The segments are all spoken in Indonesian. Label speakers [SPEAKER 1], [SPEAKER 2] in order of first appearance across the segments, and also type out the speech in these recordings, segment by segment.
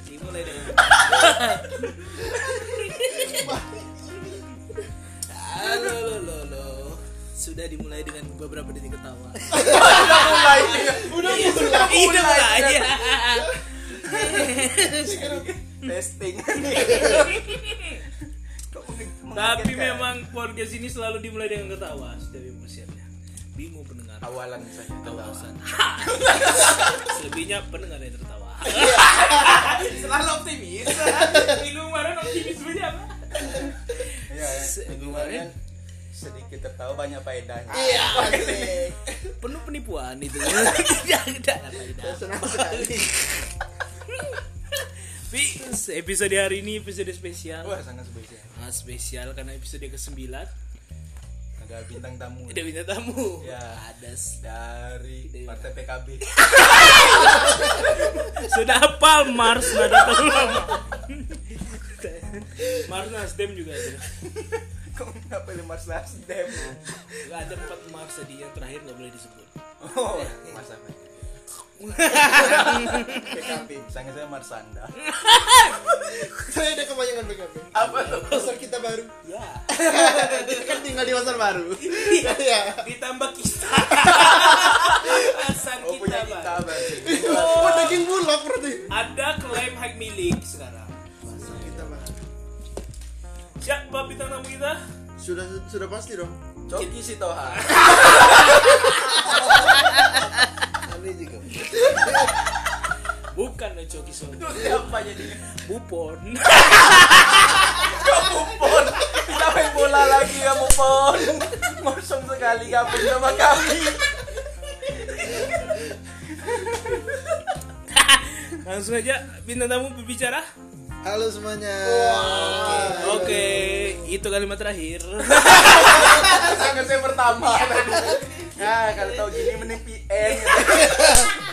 [SPEAKER 1] Jadi mulai deh. Halo, lo, lo, lo. Sudah dimulai dengan beberapa detik ketawa.
[SPEAKER 2] udah mulai udah mulai
[SPEAKER 1] Iya, mulai. Iya.
[SPEAKER 2] testing Kok menge-
[SPEAKER 1] Tapi
[SPEAKER 2] mengagetkan?
[SPEAKER 1] memang podcast ini selalu dimulai dengan ketawa dari emosiannya. Bingung pendengar.
[SPEAKER 2] awalan saja
[SPEAKER 1] Kawasan. Selebihnya pendengar yang tertawa.
[SPEAKER 2] selalu optimis
[SPEAKER 1] Minggu kemarin kan optimismenya apa?
[SPEAKER 2] Iya, ya.
[SPEAKER 1] Se-
[SPEAKER 2] Minggu
[SPEAKER 1] kemarin.
[SPEAKER 2] kemarin sedikit tertawa banyak faedahnya
[SPEAKER 3] Iya, asik.
[SPEAKER 1] Penuh penipuan itu. Tidak, tidak, tidak.
[SPEAKER 3] Senang sekali.
[SPEAKER 1] Tapi episode hari ini episode spesial.
[SPEAKER 2] wah sangat spesial
[SPEAKER 1] Nah, spesial karena episode ke-9
[SPEAKER 2] ada bintang tamu
[SPEAKER 1] ada bintang tamu.
[SPEAKER 2] Ya.
[SPEAKER 1] Ada s-
[SPEAKER 2] dari
[SPEAKER 1] Dewa.
[SPEAKER 2] partai PKB
[SPEAKER 1] sudah hafal Mars nada tolong. Mars Nasdem juga ada.
[SPEAKER 2] kok nggak pilih Mas Nasdem
[SPEAKER 1] Nggak Ada empat Mars tadi yang terakhir nggak boleh disebut.
[SPEAKER 2] oh Mas apa PKB sangat saya Marsanda
[SPEAKER 3] Saya ada kepanjangan PKB.
[SPEAKER 2] apa tuh
[SPEAKER 3] Pasar kita baru.
[SPEAKER 1] Ya.
[SPEAKER 3] Kita kan tinggal di pasar baru. Iya.
[SPEAKER 1] Ditambah kita. Asal
[SPEAKER 2] oh punya
[SPEAKER 1] kita,
[SPEAKER 2] kita
[SPEAKER 1] Bang.
[SPEAKER 2] berarti
[SPEAKER 3] Oh, daging bulog berarti.
[SPEAKER 1] Ada klaim hak milik sekarang.
[SPEAKER 3] Pasar kita baru.
[SPEAKER 1] Siapa bintang tamu kita?
[SPEAKER 3] Sudah sudah pasti dong.
[SPEAKER 2] Coki Sitoha
[SPEAKER 3] Aneh juga.
[SPEAKER 1] Bukan Coki Solo.
[SPEAKER 2] itu siapa jadi
[SPEAKER 1] Bupon.
[SPEAKER 2] Mumpun Kita main bola lagi ya Mumpun Mosong sekali gabung sama kami
[SPEAKER 1] Langsung aja bintang tamu berbicara.
[SPEAKER 3] Halo semuanya.
[SPEAKER 1] Oke, itu kalimat terakhir.
[SPEAKER 2] Sangat saya pertama Nah kalau tahu gini mending PM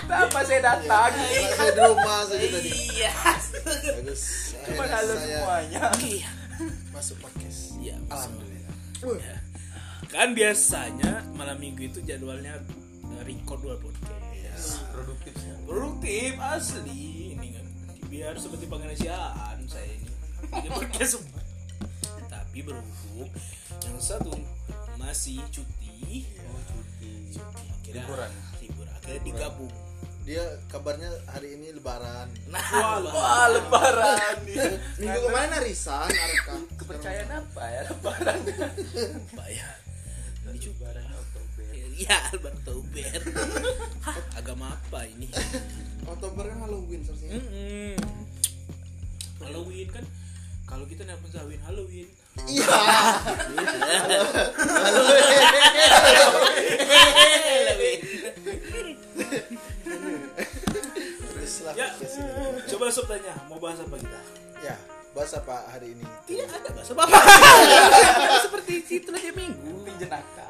[SPEAKER 2] Kenapa saya datang
[SPEAKER 3] Saya di rumah saja tadi.
[SPEAKER 1] Iya.
[SPEAKER 3] Bagus.
[SPEAKER 2] Cuma
[SPEAKER 3] Akhirnya
[SPEAKER 2] halo
[SPEAKER 3] saya
[SPEAKER 2] semuanya
[SPEAKER 1] Iya.
[SPEAKER 3] masuk podcast.
[SPEAKER 1] Iya.
[SPEAKER 3] Alhamdulillah.
[SPEAKER 1] Kan biasanya malam minggu itu jadwalnya eh, record dua podcast.
[SPEAKER 2] Produktif
[SPEAKER 1] Produktif asli ini kan. Biar seperti pengenasiaan saya ini. Bikin podcast semua. Tapi berhubung yang satu masih cuti. Akhirnya
[SPEAKER 2] Liburan.
[SPEAKER 1] Liburan. Akhirnya digabung.
[SPEAKER 3] Dia kabarnya hari ini lebaran.
[SPEAKER 1] Nah,
[SPEAKER 2] Wah Ah, lebaran nih
[SPEAKER 3] Minggu kemarin arisan, Arka.
[SPEAKER 2] Kepercayaan apa ya lebaran
[SPEAKER 1] Pak ya. Ini juga.
[SPEAKER 2] Oktober.
[SPEAKER 1] Ya, Albert Tauber. Hah, agama apa ini?
[SPEAKER 3] Oktober kan Halloween seharusnya.
[SPEAKER 1] Mm-mm. Halloween kan kalau kita nelpon Zawin Halloween.
[SPEAKER 3] Iya. Iya. Terus lah
[SPEAKER 1] ya,
[SPEAKER 3] podcast ini.
[SPEAKER 1] coba sob tanya, mau bahas apa kita?
[SPEAKER 3] Ya, bahas apa hari ini?
[SPEAKER 1] Tidak Iya, ada bahas apa. Seperti itu aja minggu.
[SPEAKER 2] Kuping jenaka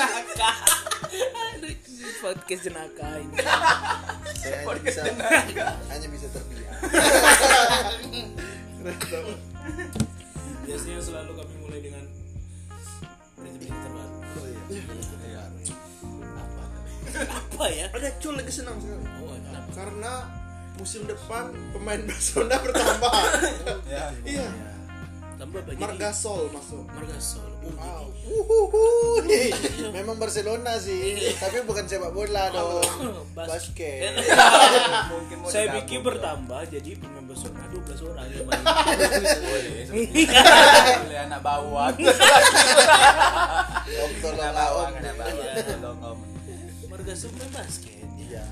[SPEAKER 1] Jenaka. Aduh, podcast jenaka ini.
[SPEAKER 3] Saya hanya
[SPEAKER 2] Podcast
[SPEAKER 3] bisa
[SPEAKER 2] jenaka
[SPEAKER 3] hanya bisa terdiam.
[SPEAKER 1] Biasanya selalu kami mulai dengan berita terbaru.
[SPEAKER 2] Iya.
[SPEAKER 1] Oh, Apa ya?
[SPEAKER 3] Ada cul lagi senang sekali
[SPEAKER 1] Oh, kenapa?
[SPEAKER 3] karena musim depan pemain Barcelona bertambah.
[SPEAKER 2] Ya.
[SPEAKER 3] Iya,
[SPEAKER 1] Tambah banyak.
[SPEAKER 3] Margasol masuk.
[SPEAKER 1] Margasol. Oh,
[SPEAKER 3] Wow.
[SPEAKER 1] jadi-
[SPEAKER 3] Uhuhu. Memang Barcelona sih, tapi bukan sepak bola dong.
[SPEAKER 1] Bas-
[SPEAKER 3] Basket.
[SPEAKER 2] Mungkin mau
[SPEAKER 1] saya
[SPEAKER 2] digabung,
[SPEAKER 1] pikir
[SPEAKER 2] dong.
[SPEAKER 1] bertambah jadi member zona 12 orang yang main.
[SPEAKER 2] Boleh seperti itu. Boleh anak bawang
[SPEAKER 3] Om tolong
[SPEAKER 2] Anak
[SPEAKER 3] lah,
[SPEAKER 2] bawang
[SPEAKER 3] Om.
[SPEAKER 2] Anak bawang Tolong om
[SPEAKER 1] Margasol main kan basket.
[SPEAKER 3] Iya.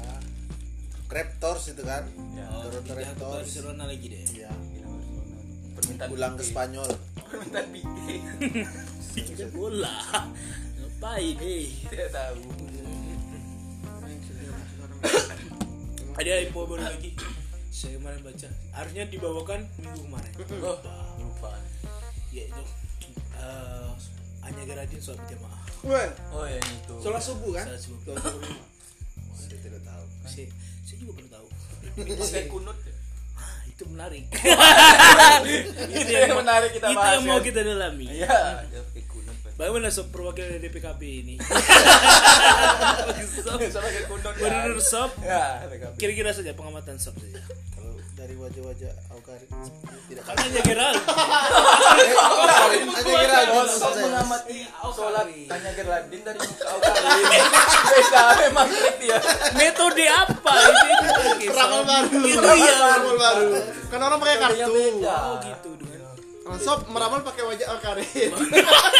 [SPEAKER 3] Raptors itu kan.
[SPEAKER 2] Ya.
[SPEAKER 1] Oh,
[SPEAKER 3] Toronto
[SPEAKER 1] tidak ke
[SPEAKER 3] Raptors.
[SPEAKER 1] Barcelona lagi deh.
[SPEAKER 3] Iya.
[SPEAKER 2] Permintaan
[SPEAKER 3] Pulang ke
[SPEAKER 2] BT.
[SPEAKER 3] Spanyol.
[SPEAKER 2] Permintaan BT.
[SPEAKER 1] Itu bola. Ngapain eh? deh?
[SPEAKER 2] Tidak tahu
[SPEAKER 1] Ada info baru lagi. Saya kemarin baca. Harusnya dibawakan minggu kemarin.
[SPEAKER 2] Oh,
[SPEAKER 1] Lupa.
[SPEAKER 2] lupa
[SPEAKER 1] Yaitu eh Anya Geraldine soal jamaah.
[SPEAKER 3] Wah,
[SPEAKER 2] Oh yang itu
[SPEAKER 3] sholat subuh kan?
[SPEAKER 1] Salah sebut.
[SPEAKER 3] Sholat subuh. Saya tidak tahu.
[SPEAKER 1] Saya, saya juga baru tahu.
[SPEAKER 2] Saya kunut ya?
[SPEAKER 1] Ah, itu menarik.
[SPEAKER 2] Itu yang menarik kita
[SPEAKER 1] itu
[SPEAKER 2] bahas
[SPEAKER 1] yang mau
[SPEAKER 2] ya.
[SPEAKER 1] kita dalami.
[SPEAKER 2] Iya Dia pakai kunut Pak.
[SPEAKER 1] Bagaimana sob perwakilan dari PKB ini? Bagus, sob.
[SPEAKER 2] sebagai kundon
[SPEAKER 1] Menurut sob,
[SPEAKER 2] ya PKB.
[SPEAKER 1] kira-kira saja pengamatan sob saja.
[SPEAKER 3] Kalau dari wajah-wajah Aukari tidak
[SPEAKER 1] Kan hanya Gerald.
[SPEAKER 3] Hanya kira
[SPEAKER 2] Kalau
[SPEAKER 3] maksud
[SPEAKER 2] sob
[SPEAKER 3] saya.
[SPEAKER 2] mengamati sholat
[SPEAKER 4] Aukari.
[SPEAKER 2] tanya Geraldin dari muka Aukari beda memang ya. dia
[SPEAKER 1] Metode apa ini?
[SPEAKER 5] Ramal baru.
[SPEAKER 1] Itu
[SPEAKER 5] Ramal
[SPEAKER 1] ya.
[SPEAKER 5] baru, baru. Kan orang pakai
[SPEAKER 2] Dia
[SPEAKER 5] kartu.
[SPEAKER 2] beda
[SPEAKER 1] Oh gitu dengan
[SPEAKER 5] Kalau sob meramal pakai wajah orang karet.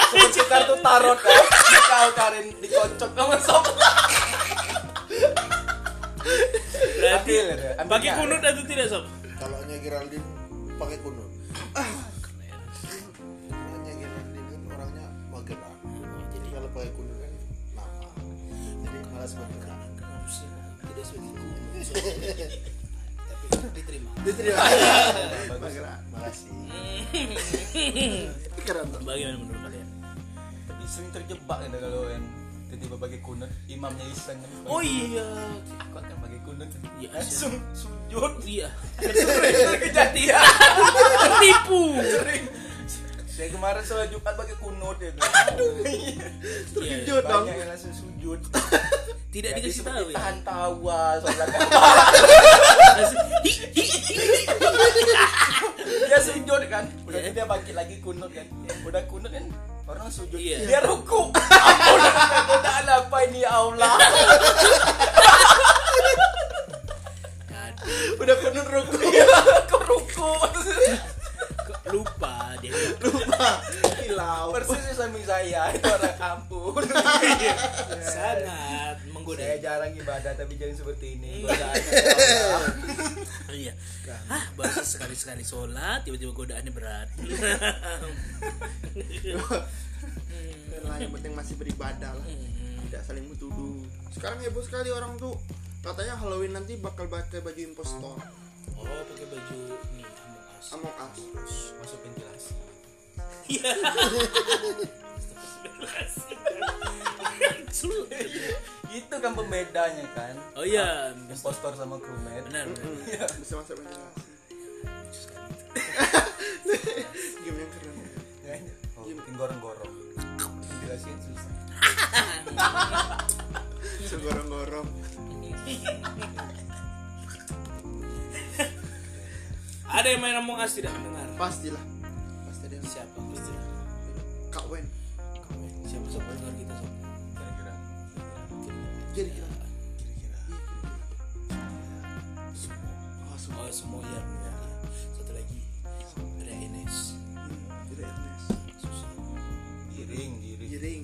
[SPEAKER 2] seperti kartu tarot ya muka Aukari dikocok sama sob
[SPEAKER 1] berarti
[SPEAKER 2] Ambil, ya. Ambil,
[SPEAKER 1] bagi
[SPEAKER 2] ya.
[SPEAKER 1] kunut atau tidak sob?
[SPEAKER 3] Kalau hanya Geraldine pakai kunut. Hanya Geraldine kan orangnya magelang. Jadi kalau pakai kunut kan lama. Jadi malas bergerak.
[SPEAKER 4] tidak sebagai guru tapi diterima
[SPEAKER 5] Bergerak.
[SPEAKER 3] Makasih.
[SPEAKER 5] Keren tuh.
[SPEAKER 1] Bagaimana menurut kalian?
[SPEAKER 2] tapi sering terjebak ya kalau yang tiba-tiba bagi kunut imamnya iseng kan
[SPEAKER 1] Oh iya.
[SPEAKER 2] aku akan bagi kunut Kan
[SPEAKER 1] Iya.
[SPEAKER 2] langsung
[SPEAKER 1] Sujud iya.
[SPEAKER 2] kejadian
[SPEAKER 1] Tertipu.
[SPEAKER 2] saya kemarin sholat Jumat pakai kunut ya. Aduh.
[SPEAKER 1] Iya.
[SPEAKER 5] Jod dong.
[SPEAKER 2] Banyak yang langsung sujud.
[SPEAKER 1] Tidak
[SPEAKER 2] Jadi
[SPEAKER 1] dikasih
[SPEAKER 2] seperti kan.
[SPEAKER 1] tahu ya.
[SPEAKER 2] Tahan tawa sholat.
[SPEAKER 1] Langsung, hi, hi, hi.
[SPEAKER 2] dia sujud kan. Udah
[SPEAKER 1] Iya.
[SPEAKER 2] dia bangkit lagi kunut kan. Udah kunut kan orang sujud.
[SPEAKER 1] Iya.
[SPEAKER 2] Dia ruku. Ampun. Godaan apa ini ya Allah. Udah kunut ruku.
[SPEAKER 1] Iya.
[SPEAKER 2] Kok ruku.
[SPEAKER 1] Kok Lupa dia.
[SPEAKER 5] Hilau.
[SPEAKER 2] Persis di samping saya itu orang kampung.
[SPEAKER 1] Iya. Sangat menggoda.
[SPEAKER 2] Saya jarang ibadah tapi jangan seperti ini.
[SPEAKER 1] Iya.
[SPEAKER 2] Godaan ya Allah.
[SPEAKER 1] Iya. Hah, baru sekali-sekali sholat, tiba-tiba godaannya berat.
[SPEAKER 5] Dan lah, yang penting masih beribadah lah. Tidak saling menuduh. Sekarang heboh sekali orang tuh katanya Halloween nanti bakal pakai baju impostor
[SPEAKER 1] Oh, pakai baju ini Among Us.
[SPEAKER 5] Among Us.
[SPEAKER 2] Masuk ventilasi.
[SPEAKER 1] Iya.
[SPEAKER 2] Itu kan pembedanya kan.
[SPEAKER 1] Oh iya,
[SPEAKER 2] Impostor sama crewmate.
[SPEAKER 1] benar. benar.
[SPEAKER 5] Iya, Bisa masuk ventilasi. Game yang keren.
[SPEAKER 2] Oh,
[SPEAKER 1] Iya.
[SPEAKER 2] bikin gorong-gorong. Jelasin susah.
[SPEAKER 5] Segorong-gorong.
[SPEAKER 1] Ada yang main Among Us tidak mendengar?
[SPEAKER 5] Pastilah. Pasti ada yang
[SPEAKER 1] Siapa? Pasti.
[SPEAKER 5] Kak Wen.
[SPEAKER 1] Siapa sob pendengar kita sob?
[SPEAKER 2] Kira-kira.
[SPEAKER 5] Kira-kira.
[SPEAKER 1] Kira-kira. Semua. Oh, semua. Oh, semua iya. benar, iya. Satu lagi. Ada Enes.
[SPEAKER 5] Tidak Ernest.
[SPEAKER 1] Susah.
[SPEAKER 2] Giring, giring.
[SPEAKER 5] Giring.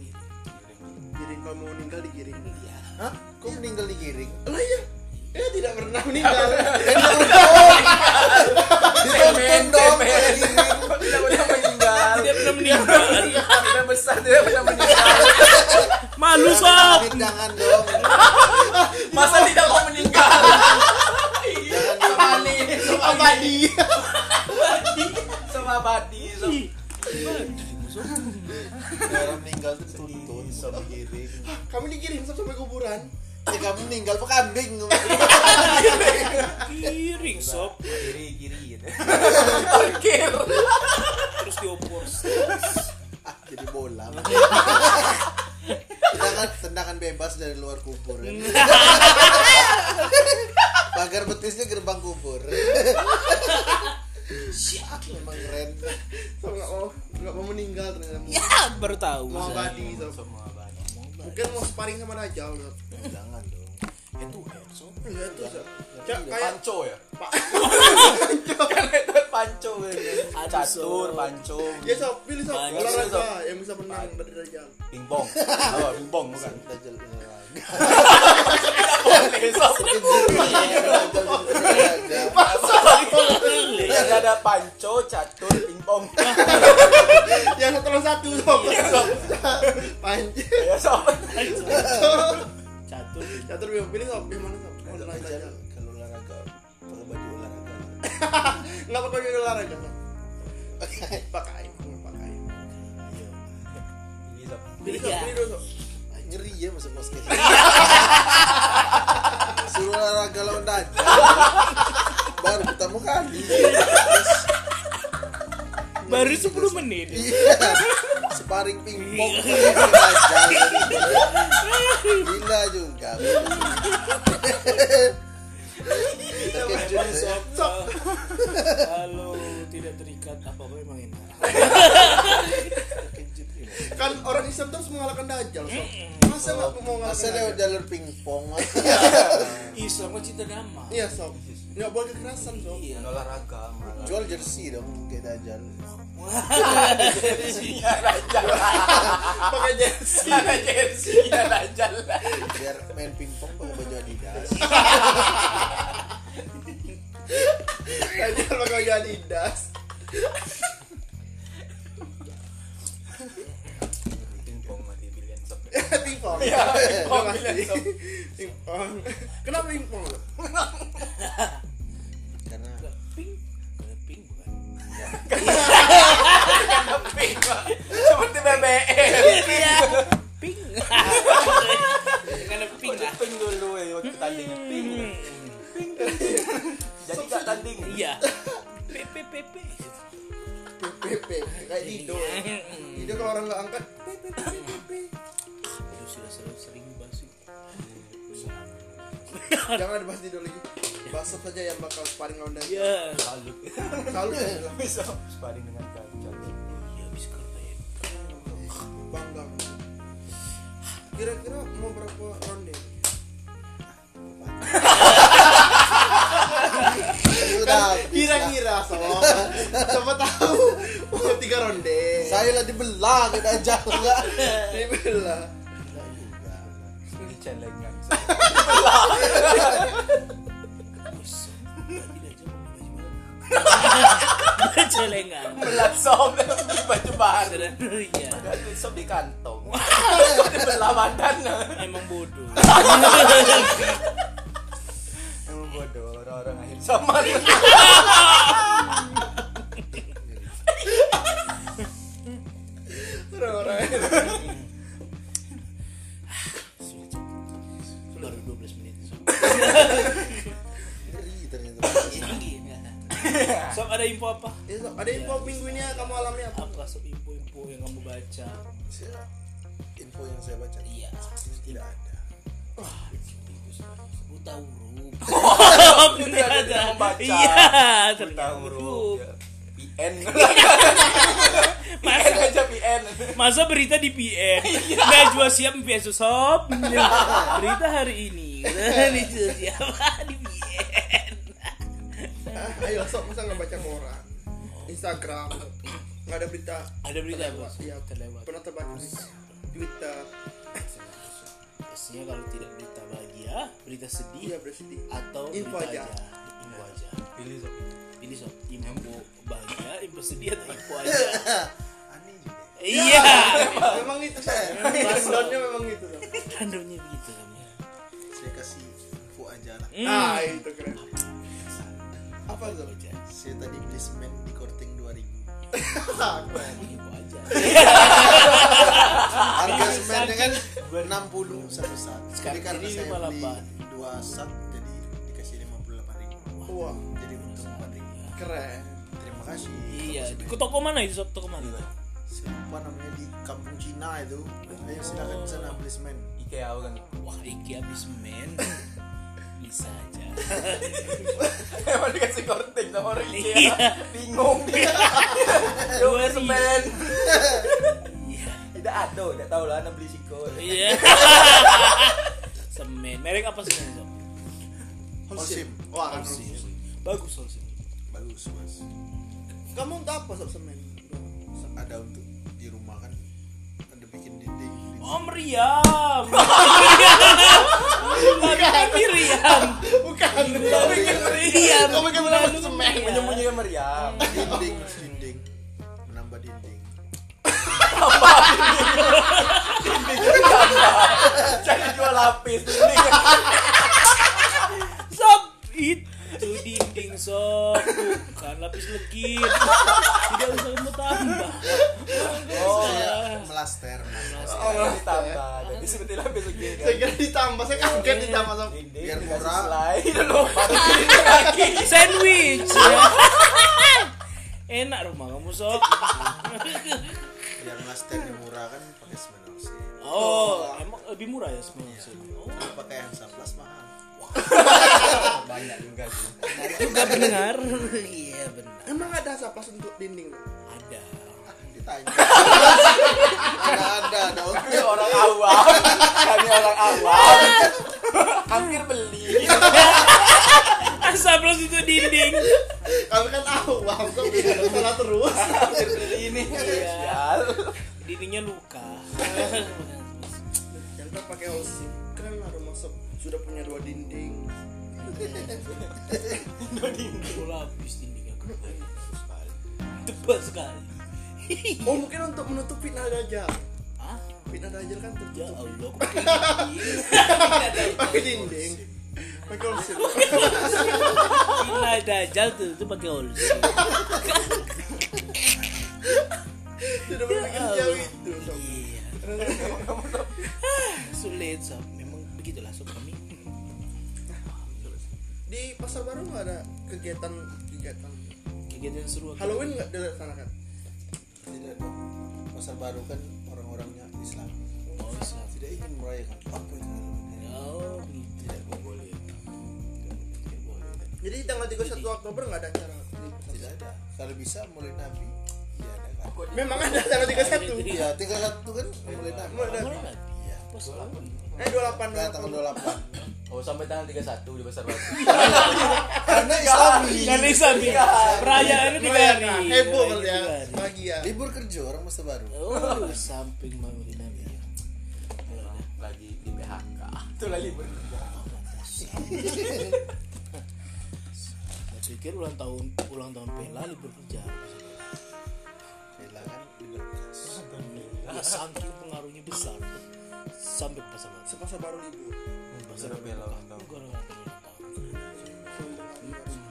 [SPEAKER 5] Giring kalau mau meninggal digiring.
[SPEAKER 1] Iya.
[SPEAKER 3] Hah? Kok meninggal digiring?
[SPEAKER 5] Lah iya. Eh tidak pernah meninggal.
[SPEAKER 3] Ditonton dong.
[SPEAKER 2] Tidak pernah meninggal.
[SPEAKER 1] Tidak pernah meninggal.
[SPEAKER 2] Tidak besar, tidak pernah meninggal.
[SPEAKER 1] Malu sob.
[SPEAKER 3] Amit jangan dong.
[SPEAKER 2] Masa tidak mau meninggal? Apa nih? Sama Badi. Sama Badi. Sama
[SPEAKER 3] Orang meninggal tuh dituntun, bukan digiring.
[SPEAKER 5] Kami digiring sampai kuburan.
[SPEAKER 3] Ya kamu meninggal apa kambing?
[SPEAKER 1] Piring sob.
[SPEAKER 2] Kiri, kiri gitu.
[SPEAKER 1] Terus diopor.
[SPEAKER 3] Jadi bola.
[SPEAKER 5] Iya.
[SPEAKER 3] Tendangan, tendangan bebas dari luar kubur. kan?
[SPEAKER 5] Iya.
[SPEAKER 3] Pagar betisnya gerbang kubur. Memang keren. Iya.
[SPEAKER 5] Sama nggak mau nggak mau meninggal ternyata.
[SPEAKER 1] Ya, baru tahu.
[SPEAKER 5] Mau abadi Sob.
[SPEAKER 2] Sama Badi.
[SPEAKER 5] Mungkin mau sparring sama Dajjal. Sob.
[SPEAKER 3] Jangan dong. Itu eh, Herso.
[SPEAKER 5] Iya tuh. Sob. Kayak kayak
[SPEAKER 2] Panco ya? Karena itu panco kan. Catur, panco.
[SPEAKER 5] Ya sob, pilih sob
[SPEAKER 1] Banyak,
[SPEAKER 5] olahraga
[SPEAKER 2] Sob.
[SPEAKER 5] yang bisa menang dari Oh, Dajjal.
[SPEAKER 2] Pingpong. Oh, pingpong bukan.
[SPEAKER 3] Dajjal.
[SPEAKER 2] Boleh, sob. Jadi ada, Iya, ada panco, catur, pingpong.
[SPEAKER 5] Yang Ya, satu lawan satu sob. Panjang.
[SPEAKER 2] Ya sob.
[SPEAKER 1] Satu.
[SPEAKER 5] Catur yang Ya, pilih sob yang mana sob? Oh, dari Dajjal.
[SPEAKER 3] Kalau olahraga, pakai baju olahraga.
[SPEAKER 5] Nggak pakai baju olahraga sob. Pakai, pakai.
[SPEAKER 3] Ayo.
[SPEAKER 2] Ini sob.
[SPEAKER 5] Pilih sob,
[SPEAKER 1] Iya.
[SPEAKER 5] pilih dulu sob.
[SPEAKER 3] Iya. Ah, Nyeri ya masuk basket. Suruh olahraga lawan Dajjal. Baru kan? pertama kali.
[SPEAKER 1] Baru 10 menit.
[SPEAKER 3] Iya. sparring pingpong
[SPEAKER 5] Iya.
[SPEAKER 3] aja gila juga
[SPEAKER 1] Iya,
[SPEAKER 3] Pakai jurus ya.
[SPEAKER 1] Halo, tidak terikat apa apa emang enak. Kejut ya.
[SPEAKER 5] kan orang Islam terus mengalahkan Dajjal sob masa nggak
[SPEAKER 3] masa
[SPEAKER 5] mau mengalahkan
[SPEAKER 3] lewat
[SPEAKER 5] Dajjal
[SPEAKER 3] jalur pingpong
[SPEAKER 1] Islam kan cinta damai.
[SPEAKER 5] iya sob nggak boleh kekerasan sob
[SPEAKER 4] Iya.
[SPEAKER 2] Dan olahraga malah.
[SPEAKER 3] jual jersey dong kayak dajal
[SPEAKER 1] Iya,
[SPEAKER 5] pakai jersey
[SPEAKER 2] Ada jersey ada jalan.
[SPEAKER 3] biar main pingpong pakai baju adidas
[SPEAKER 5] Dajjal pakai baju Adidas
[SPEAKER 2] Pingpong mati pilihan sob.
[SPEAKER 5] pingpong
[SPEAKER 3] Iya.
[SPEAKER 5] ya pingpong pingpong kenapa pingpong lo
[SPEAKER 3] karena
[SPEAKER 1] Ping, Kalau ping bukan.
[SPEAKER 2] Ping, Pak. Seperti BBM.
[SPEAKER 1] Iya. Ping. Karena ping ah. lah.
[SPEAKER 2] Ping dulu ya waktu tanding ping. Jadi gak tanding.
[SPEAKER 1] Iya. PPPP.
[SPEAKER 5] PP kayak
[SPEAKER 3] Iya.
[SPEAKER 5] Dido ya. Dido kalau orang nggak angkat
[SPEAKER 1] Aduh sudah sering sering basi.
[SPEAKER 5] jangan dibahas Dido lagi bahas apa saja yang bakal sparring lawan Dajjal
[SPEAKER 1] Ya.
[SPEAKER 2] Lalu
[SPEAKER 5] selalu ya
[SPEAKER 2] bisa sparring dengan Dajjal.
[SPEAKER 1] Ya bisa keren.
[SPEAKER 5] bangga kira-kira mau berapa ronde
[SPEAKER 3] sudah
[SPEAKER 5] Kan kira-kira sob siapa tahu mau tiga ronde
[SPEAKER 3] saya lah dibelah kayak dajal enggak
[SPEAKER 5] Dibelah.
[SPEAKER 2] Di challenge kan.
[SPEAKER 1] Celengan.
[SPEAKER 2] Belat sob baju baru.
[SPEAKER 1] Iya.
[SPEAKER 2] Baju sob di kantong. Belah badan.
[SPEAKER 1] Emang bodoh.
[SPEAKER 2] Emang bodoh orang-orang akhir sama.
[SPEAKER 5] orang-orang
[SPEAKER 1] Baru 12 menit.
[SPEAKER 3] ngeri ternyata
[SPEAKER 1] Sob ada info apa?
[SPEAKER 5] Ya, sob, ada info minggu ini ya, kamu alami apa
[SPEAKER 1] Apa sob info-info yang kamu baca?
[SPEAKER 3] Saya- info yang saya baca
[SPEAKER 1] Iya.
[SPEAKER 3] tidak ada
[SPEAKER 1] Buta huruf.
[SPEAKER 2] Tidak ada yang membaca.
[SPEAKER 1] Iya.
[SPEAKER 2] Buta
[SPEAKER 1] ternyata
[SPEAKER 2] huruf.
[SPEAKER 1] huruf.
[SPEAKER 2] PN. PN
[SPEAKER 5] Iya.
[SPEAKER 1] Masa
[SPEAKER 2] aja PN.
[SPEAKER 1] Masa berita di PM
[SPEAKER 5] Iya.
[SPEAKER 1] Najwa siap PS Sob Berita hari ini Najwa siap di PM
[SPEAKER 5] Ah, ayo sok masa nggak baca koran Instagram nggak ada berita
[SPEAKER 1] Ada berita apa?
[SPEAKER 5] Iya,
[SPEAKER 1] terlewat
[SPEAKER 5] pernah terbaca di Twitter
[SPEAKER 1] Biasanya kalau tidak berita bahagia Berita
[SPEAKER 5] iya
[SPEAKER 1] sedih
[SPEAKER 5] bersedih
[SPEAKER 1] Atau
[SPEAKER 5] Info
[SPEAKER 1] berita
[SPEAKER 5] aja.
[SPEAKER 1] aja Info aja
[SPEAKER 2] Pilih sob.
[SPEAKER 1] Pilih Sob Info bahagia Info sedih atau info aja
[SPEAKER 3] aneh juga ya.
[SPEAKER 1] Iya
[SPEAKER 5] memang itu saya backgroundnya memang itu Sob.
[SPEAKER 1] Randomnya Kan begitu ya. namanya.
[SPEAKER 3] saya kasih info aja lah
[SPEAKER 1] Hmm?
[SPEAKER 5] ah itu keren apa tuh
[SPEAKER 1] Aja.
[SPEAKER 3] saya tadi beli semen di korting 2000
[SPEAKER 5] Ah,
[SPEAKER 1] Info aja
[SPEAKER 3] harga
[SPEAKER 1] Ini
[SPEAKER 3] semennya kan
[SPEAKER 1] Ah, iya, sakit.
[SPEAKER 3] 60 satu sak jadi
[SPEAKER 1] Sekarang
[SPEAKER 3] karena
[SPEAKER 1] jadi
[SPEAKER 3] saya
[SPEAKER 1] 58.
[SPEAKER 3] beli dua sak jadi dikasih 58 ribu
[SPEAKER 5] wah
[SPEAKER 3] jadi untung 4 ribu
[SPEAKER 5] keren
[SPEAKER 3] terima kasih
[SPEAKER 1] Iya
[SPEAKER 3] Toko
[SPEAKER 1] Di Iya.
[SPEAKER 3] semen.
[SPEAKER 1] toko mana itu Sob? Toko mana?
[SPEAKER 3] saya lupa namanya di kampung Cina itu ayo silakan ke sana beli semen
[SPEAKER 2] IKEA kan.
[SPEAKER 1] Wah Iki habis men Bisa aja
[SPEAKER 2] Emang dikasih korting sama orang
[SPEAKER 1] Iya.
[SPEAKER 2] IKEA Bingung dia
[SPEAKER 1] Dua
[SPEAKER 2] Dua semen Tidak ada, tidak tahu lah, anda beli siko
[SPEAKER 1] Iya. semen. Merek apa semen Sob?
[SPEAKER 3] Holcim
[SPEAKER 5] wah kan
[SPEAKER 1] Bagus soal semen.
[SPEAKER 3] bagus mas
[SPEAKER 5] kamu untuk apa sob semen
[SPEAKER 3] ada untuk di rumah kan ada bikin dinding
[SPEAKER 1] Om Riam. Bukan Iya. Miriam.
[SPEAKER 5] bukan
[SPEAKER 1] Om Riam.
[SPEAKER 5] kamu kan pernah masuk semen
[SPEAKER 2] Menyembunyikan meriam
[SPEAKER 3] dinding dinding dinding menambah dinding
[SPEAKER 2] Jadi dua lapis Ini
[SPEAKER 1] Sob itu dinding sob bukan lapis legit tidak usah kamu tambah
[SPEAKER 3] oh melaster melaster.
[SPEAKER 2] Orang ditambah, Oh, jadi seperti lapis lagi
[SPEAKER 5] saya kira ditambah saya kaget ditambah sob
[SPEAKER 2] Dinding
[SPEAKER 3] Biar
[SPEAKER 2] dikasih
[SPEAKER 3] murah.
[SPEAKER 2] selai dulu
[SPEAKER 1] sandwich enak rumah kamu sob
[SPEAKER 3] yang Mustang yang murah kan pakai 911
[SPEAKER 1] Oh, emang lebih murah ya sebenarnya. Oh,
[SPEAKER 3] kalau pakai yang Saplas mahal
[SPEAKER 2] banyak enggak sih
[SPEAKER 1] juga pendengar. Iya benar.
[SPEAKER 5] Emang ada saplas untuk dinding?
[SPEAKER 1] Ada.
[SPEAKER 3] Ah, ditanya ada ada ada
[SPEAKER 2] kami orang awam kami orang awam hampir beli
[SPEAKER 1] Asap plus itu dinding.
[SPEAKER 3] kamu kan awam kok bikin salah terus
[SPEAKER 2] hampir beli ini sial
[SPEAKER 1] Dindingnya luka.
[SPEAKER 5] Yang tak pakai olsi Keren lah rumah sob Sudah punya dua dinding
[SPEAKER 1] Dinding lapis dindingnya keren sekali. Tebal sekali.
[SPEAKER 5] Oh mungkin untuk menutup fitnah dajjal
[SPEAKER 1] Hah?
[SPEAKER 5] Fitnah dajjal kan
[SPEAKER 1] Ya
[SPEAKER 5] tertutup
[SPEAKER 1] Allah. kok Ya.
[SPEAKER 5] Pakai dinding Pakai olsi
[SPEAKER 1] Gila dajal tuh itu pakai olsi.
[SPEAKER 5] Sudah
[SPEAKER 1] Ya
[SPEAKER 5] berpikir jauh itu sob
[SPEAKER 1] Iya. Ah, Sulit sob. Memang begitulah sob kami.
[SPEAKER 5] Di pasar baru nggak ada kegiatan Kegiatan
[SPEAKER 1] Kegiatan seru.
[SPEAKER 5] Halloween nggak dilaksanakan?
[SPEAKER 3] tidak dong pasar baru kan orang-orangnya Islam
[SPEAKER 1] Oh, Islam.
[SPEAKER 3] tidak ingin merayakan apa itu Halloween?
[SPEAKER 1] Oh, gitu.
[SPEAKER 3] tidak boleh tidak boleh
[SPEAKER 5] Jadi tanggal 31 Oktober nggak ada acara
[SPEAKER 3] tidak ada kalau bisa mulai nabi ya ada kan
[SPEAKER 5] Memang ada tanggal 31
[SPEAKER 3] iya tiga satu kan mulai nabi
[SPEAKER 5] Mulai nabi.
[SPEAKER 1] Boleh nggak?
[SPEAKER 3] iya
[SPEAKER 1] Pas lawan.
[SPEAKER 5] Eh 28
[SPEAKER 3] Nah, tanggal 28
[SPEAKER 2] oh sampai tanggal 31 di pasar baru
[SPEAKER 3] karena Islami
[SPEAKER 1] Karena Islam ya. Perayaannya tiga hari.
[SPEAKER 5] Merayakan.
[SPEAKER 1] Perayaannya
[SPEAKER 5] Heboh kali ya
[SPEAKER 1] tiga hari.
[SPEAKER 5] Bahagia
[SPEAKER 3] libur kerja orang masa baru
[SPEAKER 1] Oh, samping ya. Mami Nabi.
[SPEAKER 2] lagi di PHK itu lagi berdua
[SPEAKER 1] Saya pikir ulang tahun ulang tahun Pela libur kerja.
[SPEAKER 3] Bella kan libur kerja
[SPEAKER 1] Ya, saking pengaruhnya besar sampai ke pasar baru.
[SPEAKER 5] Sepasar baru libur
[SPEAKER 1] Pasar
[SPEAKER 2] Sudah Bella ulang tahun.
[SPEAKER 1] Gara-gara ulang tahun.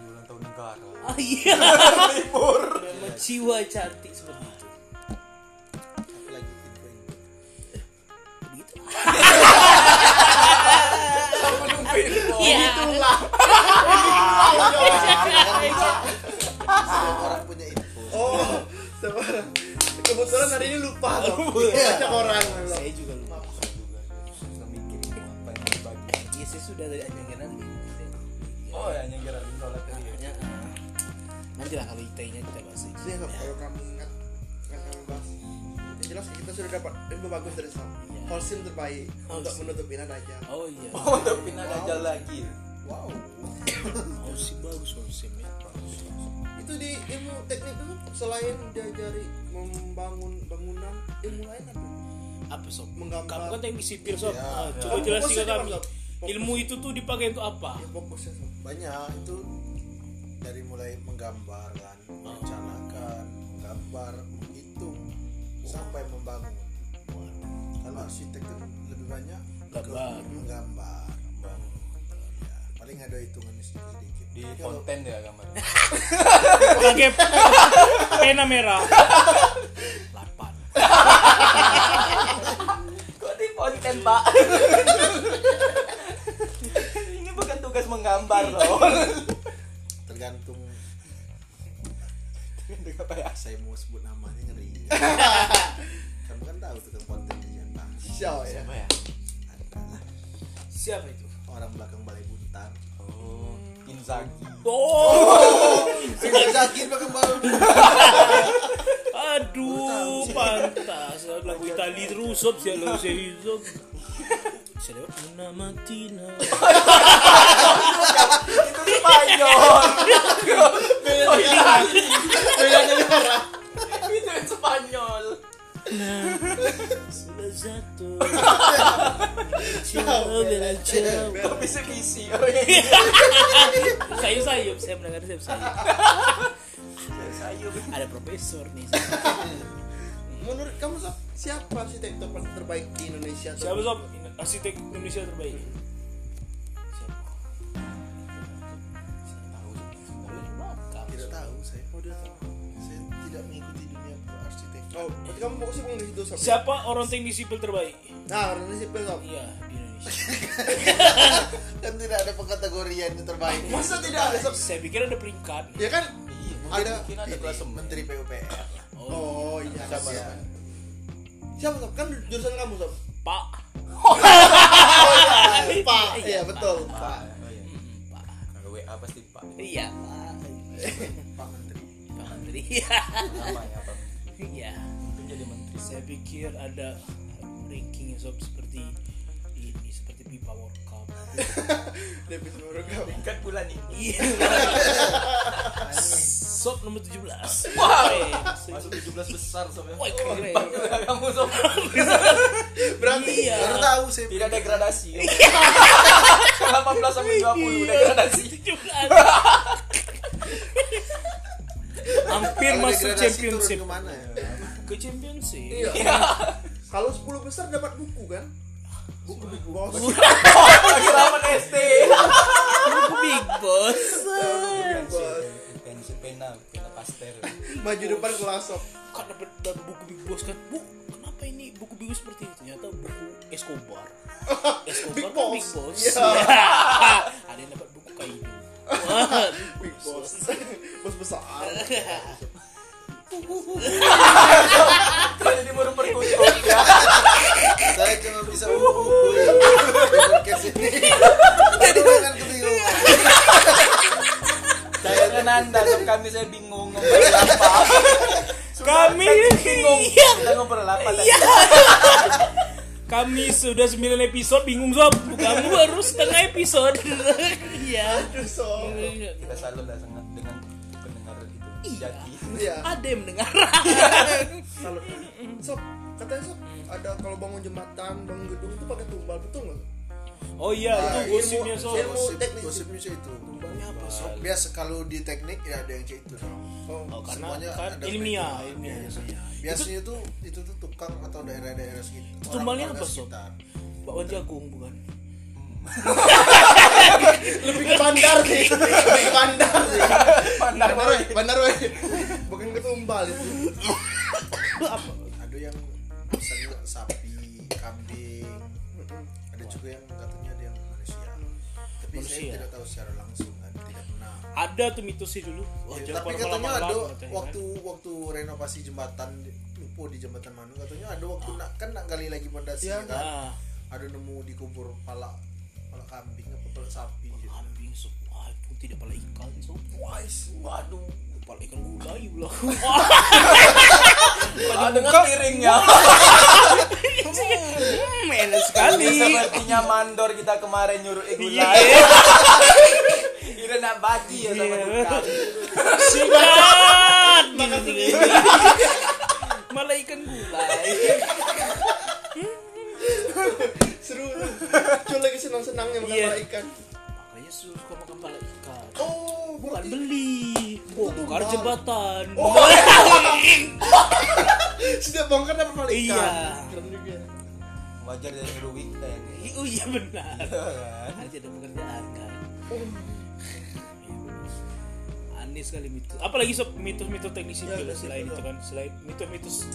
[SPEAKER 2] ulang tahun negara
[SPEAKER 1] Ah iya. Memang jiwa cantik seperti itu.
[SPEAKER 3] lagi itu
[SPEAKER 1] Begitu. Iya.
[SPEAKER 5] Itulah
[SPEAKER 3] orang punya info
[SPEAKER 5] Oh Sepasar Kebetulan hari ini lupa sob Baca orang
[SPEAKER 1] Saya juga lupa.
[SPEAKER 2] Sudah mikir apa yang dibagi
[SPEAKER 1] Iya, saya sudah dari gitu. anjangan
[SPEAKER 2] oh ya nyengir abis sholat tadi ya.
[SPEAKER 1] Nanti lah kalau IT-nya kita bahas lagi.
[SPEAKER 5] Jadi sob kalau kamu ingat Yang kami bahas Yang jelas kita sudah dapat info bagus dari sob
[SPEAKER 1] Iya.
[SPEAKER 5] Holcim terbaik Untuk menutupin aja
[SPEAKER 1] Oh iya.
[SPEAKER 2] oh udah pindah dajal lagi
[SPEAKER 3] wow
[SPEAKER 1] Oh, sih bagus oh, sim ya.
[SPEAKER 5] Itu di ilmu teknik itu Selain diajari membangun bangunan Ilmu lain apa?
[SPEAKER 1] Apa sob?
[SPEAKER 5] Menggambar.
[SPEAKER 1] Kamu kan teknik sipil sob.
[SPEAKER 3] Iya.
[SPEAKER 1] Ah, Coba
[SPEAKER 5] Kamu
[SPEAKER 1] jelasin ke
[SPEAKER 5] fokusnya
[SPEAKER 1] kami.
[SPEAKER 5] apa, Sob? Fokus.
[SPEAKER 1] Ilmu itu tuh dipakai untuk apa?
[SPEAKER 5] Ya fokusnya sob
[SPEAKER 3] banyak itu dari mulai menggambar kan merencanakan menggambar menghitung sampai membangun kalau arsitek kan lebih banyak ke
[SPEAKER 1] Gambar.
[SPEAKER 3] menggambar Ya, paling ada hitungan sedikit
[SPEAKER 2] di
[SPEAKER 3] Tapi kalau-
[SPEAKER 2] konten ya gambarnya
[SPEAKER 1] Pakai pena merah. Lapan.
[SPEAKER 2] kok di konten pak ini bukan tugas menggambar loh
[SPEAKER 3] tergantung
[SPEAKER 2] apa ya
[SPEAKER 3] saya mau sebut namanya ngeri kamu kan tahu tukang konten di Jakarta.
[SPEAKER 5] Sial ya
[SPEAKER 2] apa ya
[SPEAKER 3] ada lah
[SPEAKER 1] Siapa itu?
[SPEAKER 3] orang belakang balai buntar
[SPEAKER 2] oh Inzaghi
[SPEAKER 1] Oh,
[SPEAKER 3] tidak sakit belakang balai
[SPEAKER 1] aduh, pantas lagu Itali terus sob, saya lagu saya sob. Saya lewat Una Matina.
[SPEAKER 2] itu Spanyol oh iya itu yang Spanyol
[SPEAKER 1] Sudah satu. Ciao, bella ciao.
[SPEAKER 2] kok bisa kisi orang
[SPEAKER 1] Sayup sayup, saya mendengar sayup sayup.
[SPEAKER 2] sayur
[SPEAKER 1] Ada profesor nih.
[SPEAKER 5] Menurut kamu sob Siapa arsitektur paling terbaik di Indonesia? Sob?
[SPEAKER 1] Siapa sob? Arsitek Indonesia terbaik. Siapa?
[SPEAKER 3] tidak tahu saya oh, tidak tahu saya tidak mengikuti dunia pro arsitektur
[SPEAKER 5] Oh, berarti kamu fokusnya pengen di situ sob.
[SPEAKER 1] Siapa orang teknik sipil terbaik?
[SPEAKER 5] Nah, orang sipil sob.
[SPEAKER 1] Iya di Indonesia.
[SPEAKER 3] kan tidak ada pengkategorian yang terbaik
[SPEAKER 5] Masa tidak ada sob?
[SPEAKER 1] Saya pikir ada peringkat.
[SPEAKER 5] Ya Iya, kan?
[SPEAKER 2] Iya,
[SPEAKER 5] Ada
[SPEAKER 2] mungkin ada
[SPEAKER 3] Ini,
[SPEAKER 2] kelas
[SPEAKER 3] menteri PUPR
[SPEAKER 5] Oh iya.
[SPEAKER 3] Siapa?
[SPEAKER 5] Siapa?
[SPEAKER 6] Siapa sob? Kan jurusan kamu sob.
[SPEAKER 1] Pak.
[SPEAKER 6] Pak. Iya betul. Pak.
[SPEAKER 2] Kalau WA pasti Pak.
[SPEAKER 1] Iya, Pak.
[SPEAKER 3] Pak Menteri
[SPEAKER 1] Pak Menteri. Iya.
[SPEAKER 2] Namanya apa?
[SPEAKER 1] Iya.
[SPEAKER 2] Mungkin jadi menteri.
[SPEAKER 1] Saya pikir ada ranking sob seperti ini seperti FIFA World Cup.
[SPEAKER 5] Lebih seluruh kau.
[SPEAKER 2] Tingkat pula nih.
[SPEAKER 1] Iya. sob nomor 17.
[SPEAKER 2] Wah.
[SPEAKER 1] Keren.
[SPEAKER 2] Masuk 17 besar soalnya.
[SPEAKER 1] Wah, keren.
[SPEAKER 2] Kamu sob.
[SPEAKER 1] Berarti iya.
[SPEAKER 3] baru tahu saya
[SPEAKER 2] Tidak degradasi. 18 sampai
[SPEAKER 1] Iya.
[SPEAKER 2] 20 degradasi.
[SPEAKER 1] 17. Hampir
[SPEAKER 3] Kalau
[SPEAKER 1] masuk
[SPEAKER 3] degradasi
[SPEAKER 1] championship.
[SPEAKER 3] turun kemana ya
[SPEAKER 1] Ke championship. Iya,
[SPEAKER 5] Kalau 10 besar dapat buku kan? Oh, Buku buku. Bos.
[SPEAKER 2] Lagi lawan ST.
[SPEAKER 1] Big Boss.
[SPEAKER 2] Pensi pena, pena pastel.
[SPEAKER 5] Maju depan kelas sob.
[SPEAKER 1] Kan dapat dapat buku Big Boss kan. Bu, kenapa ini buku Big Boss seperti ini? Ternyata buku Escobar. Escobar Big kan Boss. Big Boss. Ada yang dapat buku Kaido. Wah,
[SPEAKER 5] Big bos. Bos besar.
[SPEAKER 2] Jadi baru perkutuk ya.
[SPEAKER 3] saya cuma bisa menghubungi podcast ini jadi kan kebingungan
[SPEAKER 2] Saya dengan Anda, sob kami saya bingung ngobrol apa.
[SPEAKER 1] Kami
[SPEAKER 2] bingung.
[SPEAKER 1] Iya.
[SPEAKER 2] Kita ngobrol apa tadi?
[SPEAKER 1] Kami sudah 9 episode bingung sob. Kamu baru setengah episode. Iya.
[SPEAKER 3] Iya.
[SPEAKER 2] Kita selalu lah sangat dengan pendengar itu. Jadi
[SPEAKER 5] Iya.
[SPEAKER 1] Ada yang mendengar.
[SPEAKER 5] Salut. Sob, katanya sob ada kalau bangun jembatan, bangun gedung itu pakai tumbal betul nggak?
[SPEAKER 1] Oh iya, itu gosipnya sob.
[SPEAKER 5] ilmu
[SPEAKER 3] gosip
[SPEAKER 5] teknis.
[SPEAKER 3] gosipnya sih itu biasa kalau di teknik ya ada yang kayak itu dong
[SPEAKER 1] Oh, karena
[SPEAKER 3] Semuanya
[SPEAKER 1] kan
[SPEAKER 3] ada Iya,
[SPEAKER 1] ilmiah,
[SPEAKER 3] metode.
[SPEAKER 1] ilmiah.
[SPEAKER 3] biasanya tuh itu tuh tukang atau daerah-daerah sekitar orang
[SPEAKER 1] Tumbalnya
[SPEAKER 3] warga
[SPEAKER 1] apa, Sob?
[SPEAKER 3] sekitar.
[SPEAKER 1] Bakwan jagung bukan?
[SPEAKER 5] Lebih ke bandar sih. Lebih ke bandar sih.
[SPEAKER 2] pandang
[SPEAKER 5] Bandar, weh. bandar, weh. Bukan ke tumbal itu.
[SPEAKER 3] ada yang misalnya sapi kambing ada juga yang katanya ada yang manusia tapi saya
[SPEAKER 1] Manusia.
[SPEAKER 3] tidak tahu secara langsung kan tidak pernah
[SPEAKER 1] Ada tuh mitosnya dulu. Oh,
[SPEAKER 3] Ya,
[SPEAKER 1] jangan
[SPEAKER 3] tapi
[SPEAKER 1] malam-malam
[SPEAKER 3] katanya ada
[SPEAKER 1] malam, katanya, kan?
[SPEAKER 3] waktu waktu renovasi jembatan di- lupa di jembatan Manu katanya ada waktu nak kan nak gali lagi pondasi
[SPEAKER 5] Iya,
[SPEAKER 3] kan
[SPEAKER 1] Ah,
[SPEAKER 3] ada nemu dikubur pala pala kambing apa pala sapi gitu.
[SPEAKER 1] kambing sob. Wah, itu tidak pala ikan sob. Wah, is- waduh, pala ikan gulai pula.
[SPEAKER 2] Ah, dengan piringnya.
[SPEAKER 1] Hmm, enak sekali.
[SPEAKER 2] Ini sepertinya mandor kita kemarin nyuruh
[SPEAKER 1] Iya.
[SPEAKER 2] igulai. Kira nak bagi ya sama
[SPEAKER 1] Iya.
[SPEAKER 2] tukang.
[SPEAKER 1] Sikat. Malah ikan gulai.
[SPEAKER 5] Seru. Cuma lagi senang-senangnya makan
[SPEAKER 1] Iya.
[SPEAKER 5] pala ikan.
[SPEAKER 1] Makanya suka makan pala ikan.
[SPEAKER 5] Oh,
[SPEAKER 1] Bukan
[SPEAKER 5] berarti
[SPEAKER 1] beli, bongkar
[SPEAKER 5] tumbal.
[SPEAKER 1] jembatan.
[SPEAKER 5] Oh. setiap bongkar dapat pala ikan.
[SPEAKER 1] Iya.
[SPEAKER 5] Keren juga.
[SPEAKER 2] Wajar dari nyuruh weekend.
[SPEAKER 1] Oh iya benar.
[SPEAKER 2] Kan?
[SPEAKER 1] Harus ada pekerjaan kan.
[SPEAKER 5] Oh,
[SPEAKER 1] Aneh sekali mitos. Apalagi sob mitos-mitos teknik sipil
[SPEAKER 5] Ya,
[SPEAKER 1] selain itu kan, selain mitos-mitos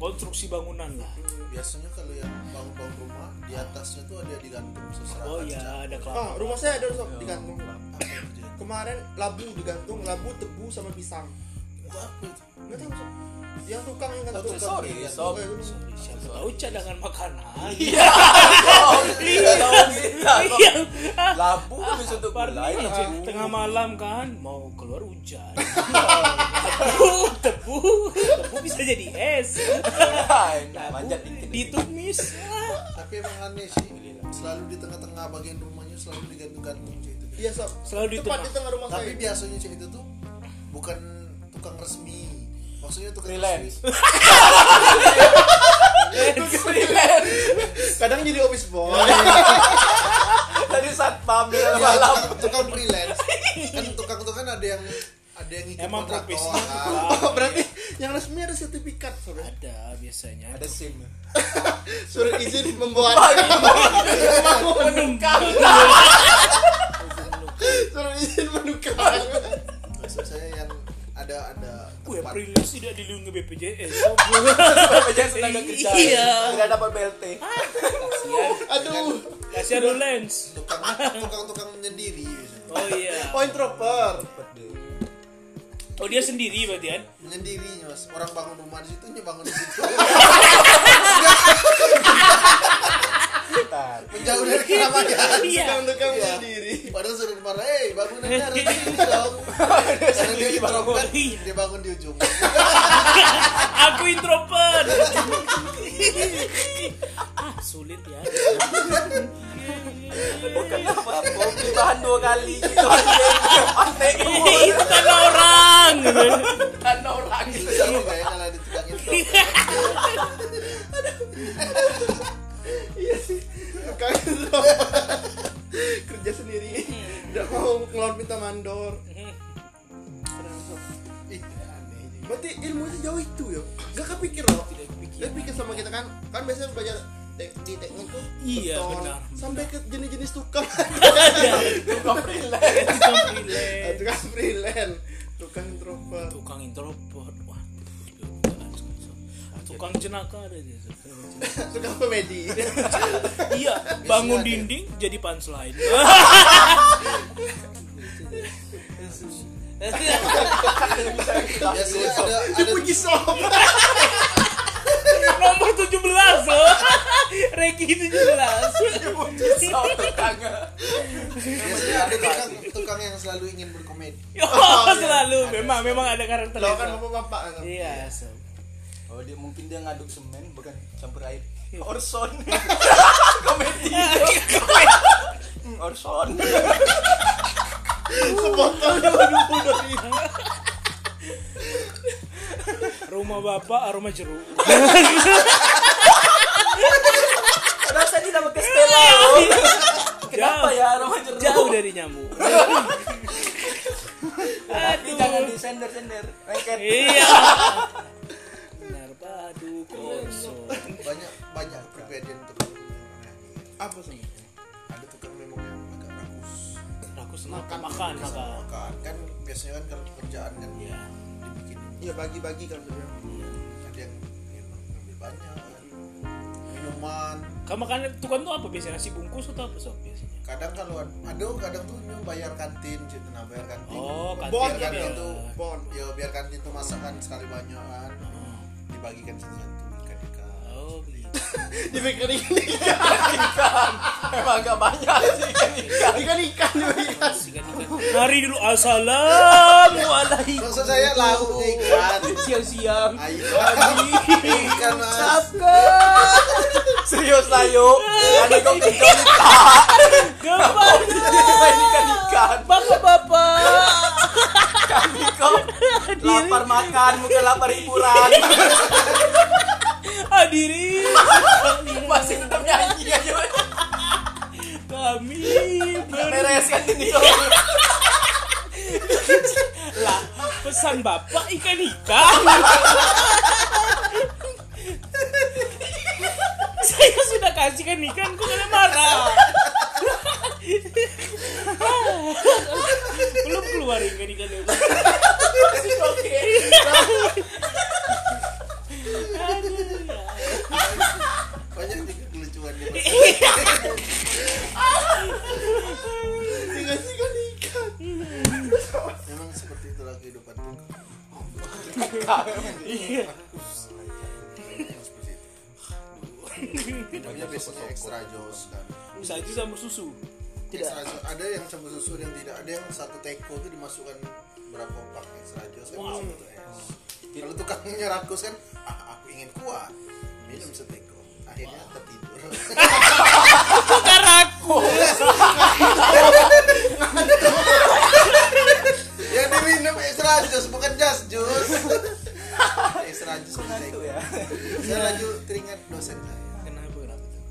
[SPEAKER 1] konstruksi bangunan lah.
[SPEAKER 5] Iya.
[SPEAKER 3] biasanya kalau yang bangun-bangun rumah di atasnya tuh ada digantung seserakan
[SPEAKER 1] Oh
[SPEAKER 3] cat.
[SPEAKER 1] iya ada kelapa.
[SPEAKER 5] Ah, rumah saya ada sob digantung.
[SPEAKER 3] apa yang terjadi
[SPEAKER 5] Kemarin labu digantung, labu, tebu sama pisang.
[SPEAKER 3] itu apa itu
[SPEAKER 5] Nggak tahu sob. Yang tukang yang gantung.
[SPEAKER 2] Sorry, sob.
[SPEAKER 5] Tukang itu.
[SPEAKER 1] Siapa tahu cadangan makanan. Iya. Iya.
[SPEAKER 2] Labu kan bisa untuk gulai.
[SPEAKER 1] Parni,
[SPEAKER 2] labu.
[SPEAKER 1] iya. tengah malam kan mau keluar hujan. tebu, tebu, tebu bisa jadi es.
[SPEAKER 2] Nah, manjat dikit.
[SPEAKER 1] Ditumis.
[SPEAKER 3] tapi emang aneh sih selalu di tengah-tengah bagian rumahnya selalu digantung-gantung kayak itu
[SPEAKER 5] Iya sob.
[SPEAKER 1] Selalu di
[SPEAKER 5] Tepat
[SPEAKER 1] tengah.
[SPEAKER 5] di tengah rumah saya.
[SPEAKER 3] tapi biasanya cewek itu tuh bukan tukang resmi maksudnya tukang
[SPEAKER 2] Freelance.
[SPEAKER 3] resmi
[SPEAKER 5] kadang jadi office boy
[SPEAKER 2] Tadi satpam di
[SPEAKER 3] Ya,
[SPEAKER 2] malam.
[SPEAKER 3] tukang- tukang freelance kan tukang itu kan ada yang ada yang ikut
[SPEAKER 1] Emang
[SPEAKER 3] kontraktor,
[SPEAKER 1] profesi.
[SPEAKER 3] kan.
[SPEAKER 5] Oh, berarti yang resmi ada sertifikat surat
[SPEAKER 1] Ada biasanya.
[SPEAKER 2] Ada SIM.
[SPEAKER 5] surat izin membuat
[SPEAKER 1] penumpang.
[SPEAKER 5] surat izin menukar
[SPEAKER 3] maksud saya yang ada ada
[SPEAKER 1] Wih,
[SPEAKER 3] tempat
[SPEAKER 1] freelance ya, tidak dilindungi BPJS.
[SPEAKER 2] Jangan tenaga kerja.
[SPEAKER 1] Iya.
[SPEAKER 2] Tidak dapat BLT.
[SPEAKER 5] aduh
[SPEAKER 1] Kasih ada lens.
[SPEAKER 3] tukang tukang tukang menyendiri biasanya.
[SPEAKER 1] Oh iya.
[SPEAKER 5] point trooper
[SPEAKER 1] Oh dia sendiri berarti kan?
[SPEAKER 3] menyendiri mas orang bangun rumah di situ nyebangun di situ menjauh dari
[SPEAKER 2] ya?
[SPEAKER 3] keramaian
[SPEAKER 1] Iya.
[SPEAKER 3] tukang sendiri padahal suruh marah eh bangunan harus di sini dong sekarang
[SPEAKER 1] Iya,
[SPEAKER 3] dia diterobos dia bangun di ujung
[SPEAKER 1] Aku introvert. ah, sulit ya.
[SPEAKER 2] Kenapa? Mau ditahan dua kali gitu anjing. Aneh
[SPEAKER 1] Itu kan orang.
[SPEAKER 2] kan orang gitu.
[SPEAKER 5] Iya.
[SPEAKER 3] bisa dibayangkan kalau ditegangin
[SPEAKER 5] Iya Bukan kerja sendiri nggak mau ngelawan minta mandor Ih, aneh juga. berarti ilmu sejauh itu ya nggak kepikir loh
[SPEAKER 1] Tidak
[SPEAKER 5] Dia
[SPEAKER 1] kepikiran.
[SPEAKER 5] pikir sama kita kan kan biasanya belajar tek- di teknik tuh
[SPEAKER 1] Iya,
[SPEAKER 5] beton,
[SPEAKER 1] benar.
[SPEAKER 5] sampai ke jenis-jenis tukang
[SPEAKER 2] Tukang freelance.
[SPEAKER 1] Tukang freelance.
[SPEAKER 5] Ah, tukang freelance tukang introvert
[SPEAKER 1] Tukang introvert. Wah. Tukang jenaka ada dia.
[SPEAKER 5] tukang komedi
[SPEAKER 1] Iya, bangun dinding jadi punchline. Iya.
[SPEAKER 3] biasanya ada ada
[SPEAKER 5] dipuji sob
[SPEAKER 1] Nomor 17. Oh. Regi 17.
[SPEAKER 2] Soal tetangga.
[SPEAKER 3] biasanya ada tukang tukang yang selalu ingin berkomedi
[SPEAKER 1] Oh, selalu memang memang ada karakter.
[SPEAKER 5] lo
[SPEAKER 1] itu.
[SPEAKER 5] kan bapak-bapak kan?
[SPEAKER 1] Iya, so.
[SPEAKER 2] Oh dia mungkin dia ngaduk semen bukan campur air. Orson. Komedi. Hmm, Orson.
[SPEAKER 1] Rumah bapak aroma jeruk.
[SPEAKER 2] Rasa ini nama Castella. Kenapa
[SPEAKER 1] Iya. Jauh.
[SPEAKER 2] ya aroma jeruk?
[SPEAKER 1] Jauh dari nyamuk.
[SPEAKER 2] Tapi jangan disender-sender. Lengket.
[SPEAKER 1] Iya. Benar padu konso.
[SPEAKER 3] banyak banyak perbedaan tukang
[SPEAKER 5] apa sih
[SPEAKER 3] ada tukang memang yang agak rakus
[SPEAKER 1] Aku senang makan makan.
[SPEAKER 3] makan kan biasanya kan kalau kerjaan kan
[SPEAKER 1] Iya.
[SPEAKER 3] dibikin iya,
[SPEAKER 5] ya bagi-bagi kan sebenarnya
[SPEAKER 3] ada yang ingin ngambil banyak minuman
[SPEAKER 1] Kamu makan tukang tuh apa biasanya nasi bungkus atau apa sob biasanya?
[SPEAKER 3] kadang kalau aduh kadang tuh nyuruh bayar kantin gitu nah bayar kantin
[SPEAKER 1] Oh, kantin.
[SPEAKER 3] biar
[SPEAKER 1] ya.
[SPEAKER 3] kantin tuh
[SPEAKER 5] bon
[SPEAKER 3] ya biar kantin tuh masakan sekali banyakan dibagikan satu ikan ikan
[SPEAKER 1] Oh, gitu.
[SPEAKER 5] dipikirin ikan
[SPEAKER 2] Emang agak banyak sih kan ikan.
[SPEAKER 5] ikan ikan juga
[SPEAKER 1] Mari dulu assalamualaikum.
[SPEAKER 3] maksud saya lauknya ikan
[SPEAKER 2] Siang-siang.
[SPEAKER 3] ayo ikan mas
[SPEAKER 2] Serius layo. Ada kok ikan
[SPEAKER 1] Kepada
[SPEAKER 2] ikan ikan kan ikan.
[SPEAKER 1] bapak-bapak.
[SPEAKER 2] Kami kok lapar makan bukan lapar hiburan.
[SPEAKER 1] Hadiri
[SPEAKER 2] Masih tetap nyanyi aja.
[SPEAKER 1] kami ber
[SPEAKER 2] Beres kan ini.
[SPEAKER 1] lah pesan bapak ikan ikan. Saya sudah kasihkan ikan kok kalian marah. Belum keluar kan. ikan ikan itu.
[SPEAKER 3] banyak juga kelucuan dia
[SPEAKER 5] dikasih ikan ikan
[SPEAKER 3] memang seperti itulah kehidupan tuh
[SPEAKER 1] Iya.
[SPEAKER 3] seperti itu Pokoknya biasanya extra jos kan
[SPEAKER 1] Bisa itu campur susu.
[SPEAKER 3] tidak ada yang campur susu yang tidak ada yang satu teko itu dimasukkan berapa pak extra jos kan
[SPEAKER 1] Wow.
[SPEAKER 3] masuk ke es kalau tukangnya rakus kan ah, aku ingin kuat minum seteko akhirnya tertidur
[SPEAKER 1] Karaku.
[SPEAKER 3] yang diminum extra jos bukan jas jus extra jus seteko
[SPEAKER 2] ya.
[SPEAKER 3] saya laju teringat dosen saya
[SPEAKER 1] Kenapa kenapa tuh?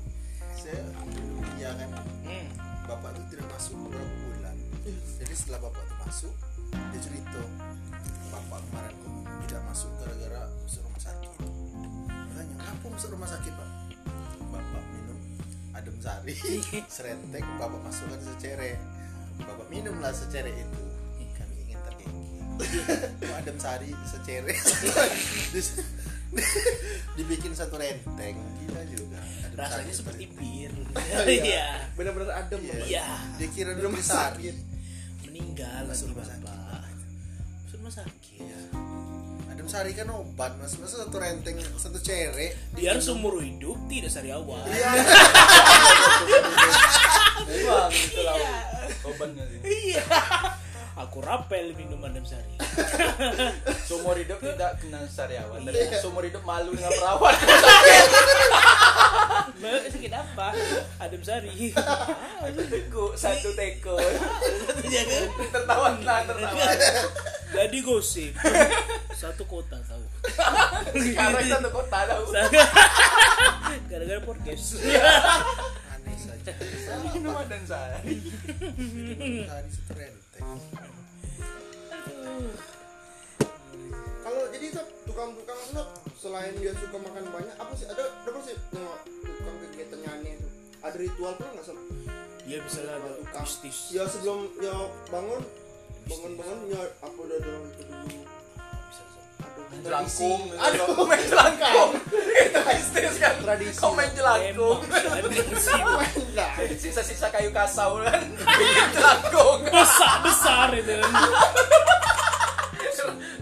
[SPEAKER 3] saya dulu kuliah kan
[SPEAKER 1] Hmm.
[SPEAKER 3] bapak itu tidak masuk beberapa bulan jadi setelah bapak itu masuk dia cerita bapak kemarin tuh tidak masuk gara-gara masuk rumah sakit hanya kenapa masuk rumah sakit pak bapak minum adem sari serentek bapak masukkan secere bapak minumlah secere itu kami ingin tergenggi Kok adem sari secere Dis- dibikin satu renteng gila juga Adem
[SPEAKER 1] Rasanya
[SPEAKER 3] Sari
[SPEAKER 1] seperti
[SPEAKER 3] itu.
[SPEAKER 1] bir.
[SPEAKER 5] Iya.
[SPEAKER 1] Iya.
[SPEAKER 5] benar-benar adem
[SPEAKER 3] Iya.
[SPEAKER 1] Iya.
[SPEAKER 3] Dia kira di rumah sakit.
[SPEAKER 1] Meninggal
[SPEAKER 3] Masuk
[SPEAKER 1] di
[SPEAKER 3] rumah sakit.
[SPEAKER 1] bapak. Masuk rumah sakit.
[SPEAKER 3] Iya. Ada Kan sari kan obat mas, masa satu renteng satu cere.
[SPEAKER 1] Dia seumur hidup tidak sariawan.
[SPEAKER 2] Memang itu gitu lah obatnya sih.
[SPEAKER 1] Iya. Aku rapel minuman enam sari.
[SPEAKER 2] Seumur hidup tidak kena sariawan dan seumur hidup malu dengan perawat.
[SPEAKER 1] Mbak, sakit apa? Adem sari. Iya.
[SPEAKER 2] Aku teku, satu teko.
[SPEAKER 1] Jadi,
[SPEAKER 2] Tertawan lah, tertawan.
[SPEAKER 1] jadi gosip. Satu kota tahu.
[SPEAKER 2] Sekarang satu kota tahu.
[SPEAKER 1] Gara-gara podcast.
[SPEAKER 3] Aneh saja.
[SPEAKER 2] Minuman dan sari.
[SPEAKER 3] Sari satu renteng.
[SPEAKER 5] Kalau jadi sob, tukang-tukang sob selain dia suka makan banyak, apa sih ada ada apa sih tengok tukang kegiatannya aneh itu? Ada ritual pula nggak sob?
[SPEAKER 1] Ya misalnya ada
[SPEAKER 5] Tukang.
[SPEAKER 1] mistis.
[SPEAKER 5] Ya sebelum ya bangun bangun-bangun ya apa udah ada itu dulu. Ada
[SPEAKER 2] Jelangkung.
[SPEAKER 5] Ada
[SPEAKER 2] Aduh, main jelangkung. Itu mistis kan.
[SPEAKER 5] Tradisi.
[SPEAKER 2] Kau main jelangkung.
[SPEAKER 1] Emang ada sih.
[SPEAKER 5] Nah,
[SPEAKER 2] kan? Sisa-sisa kayu kasau kan. Bikin jelangkung.
[SPEAKER 1] besar besar itu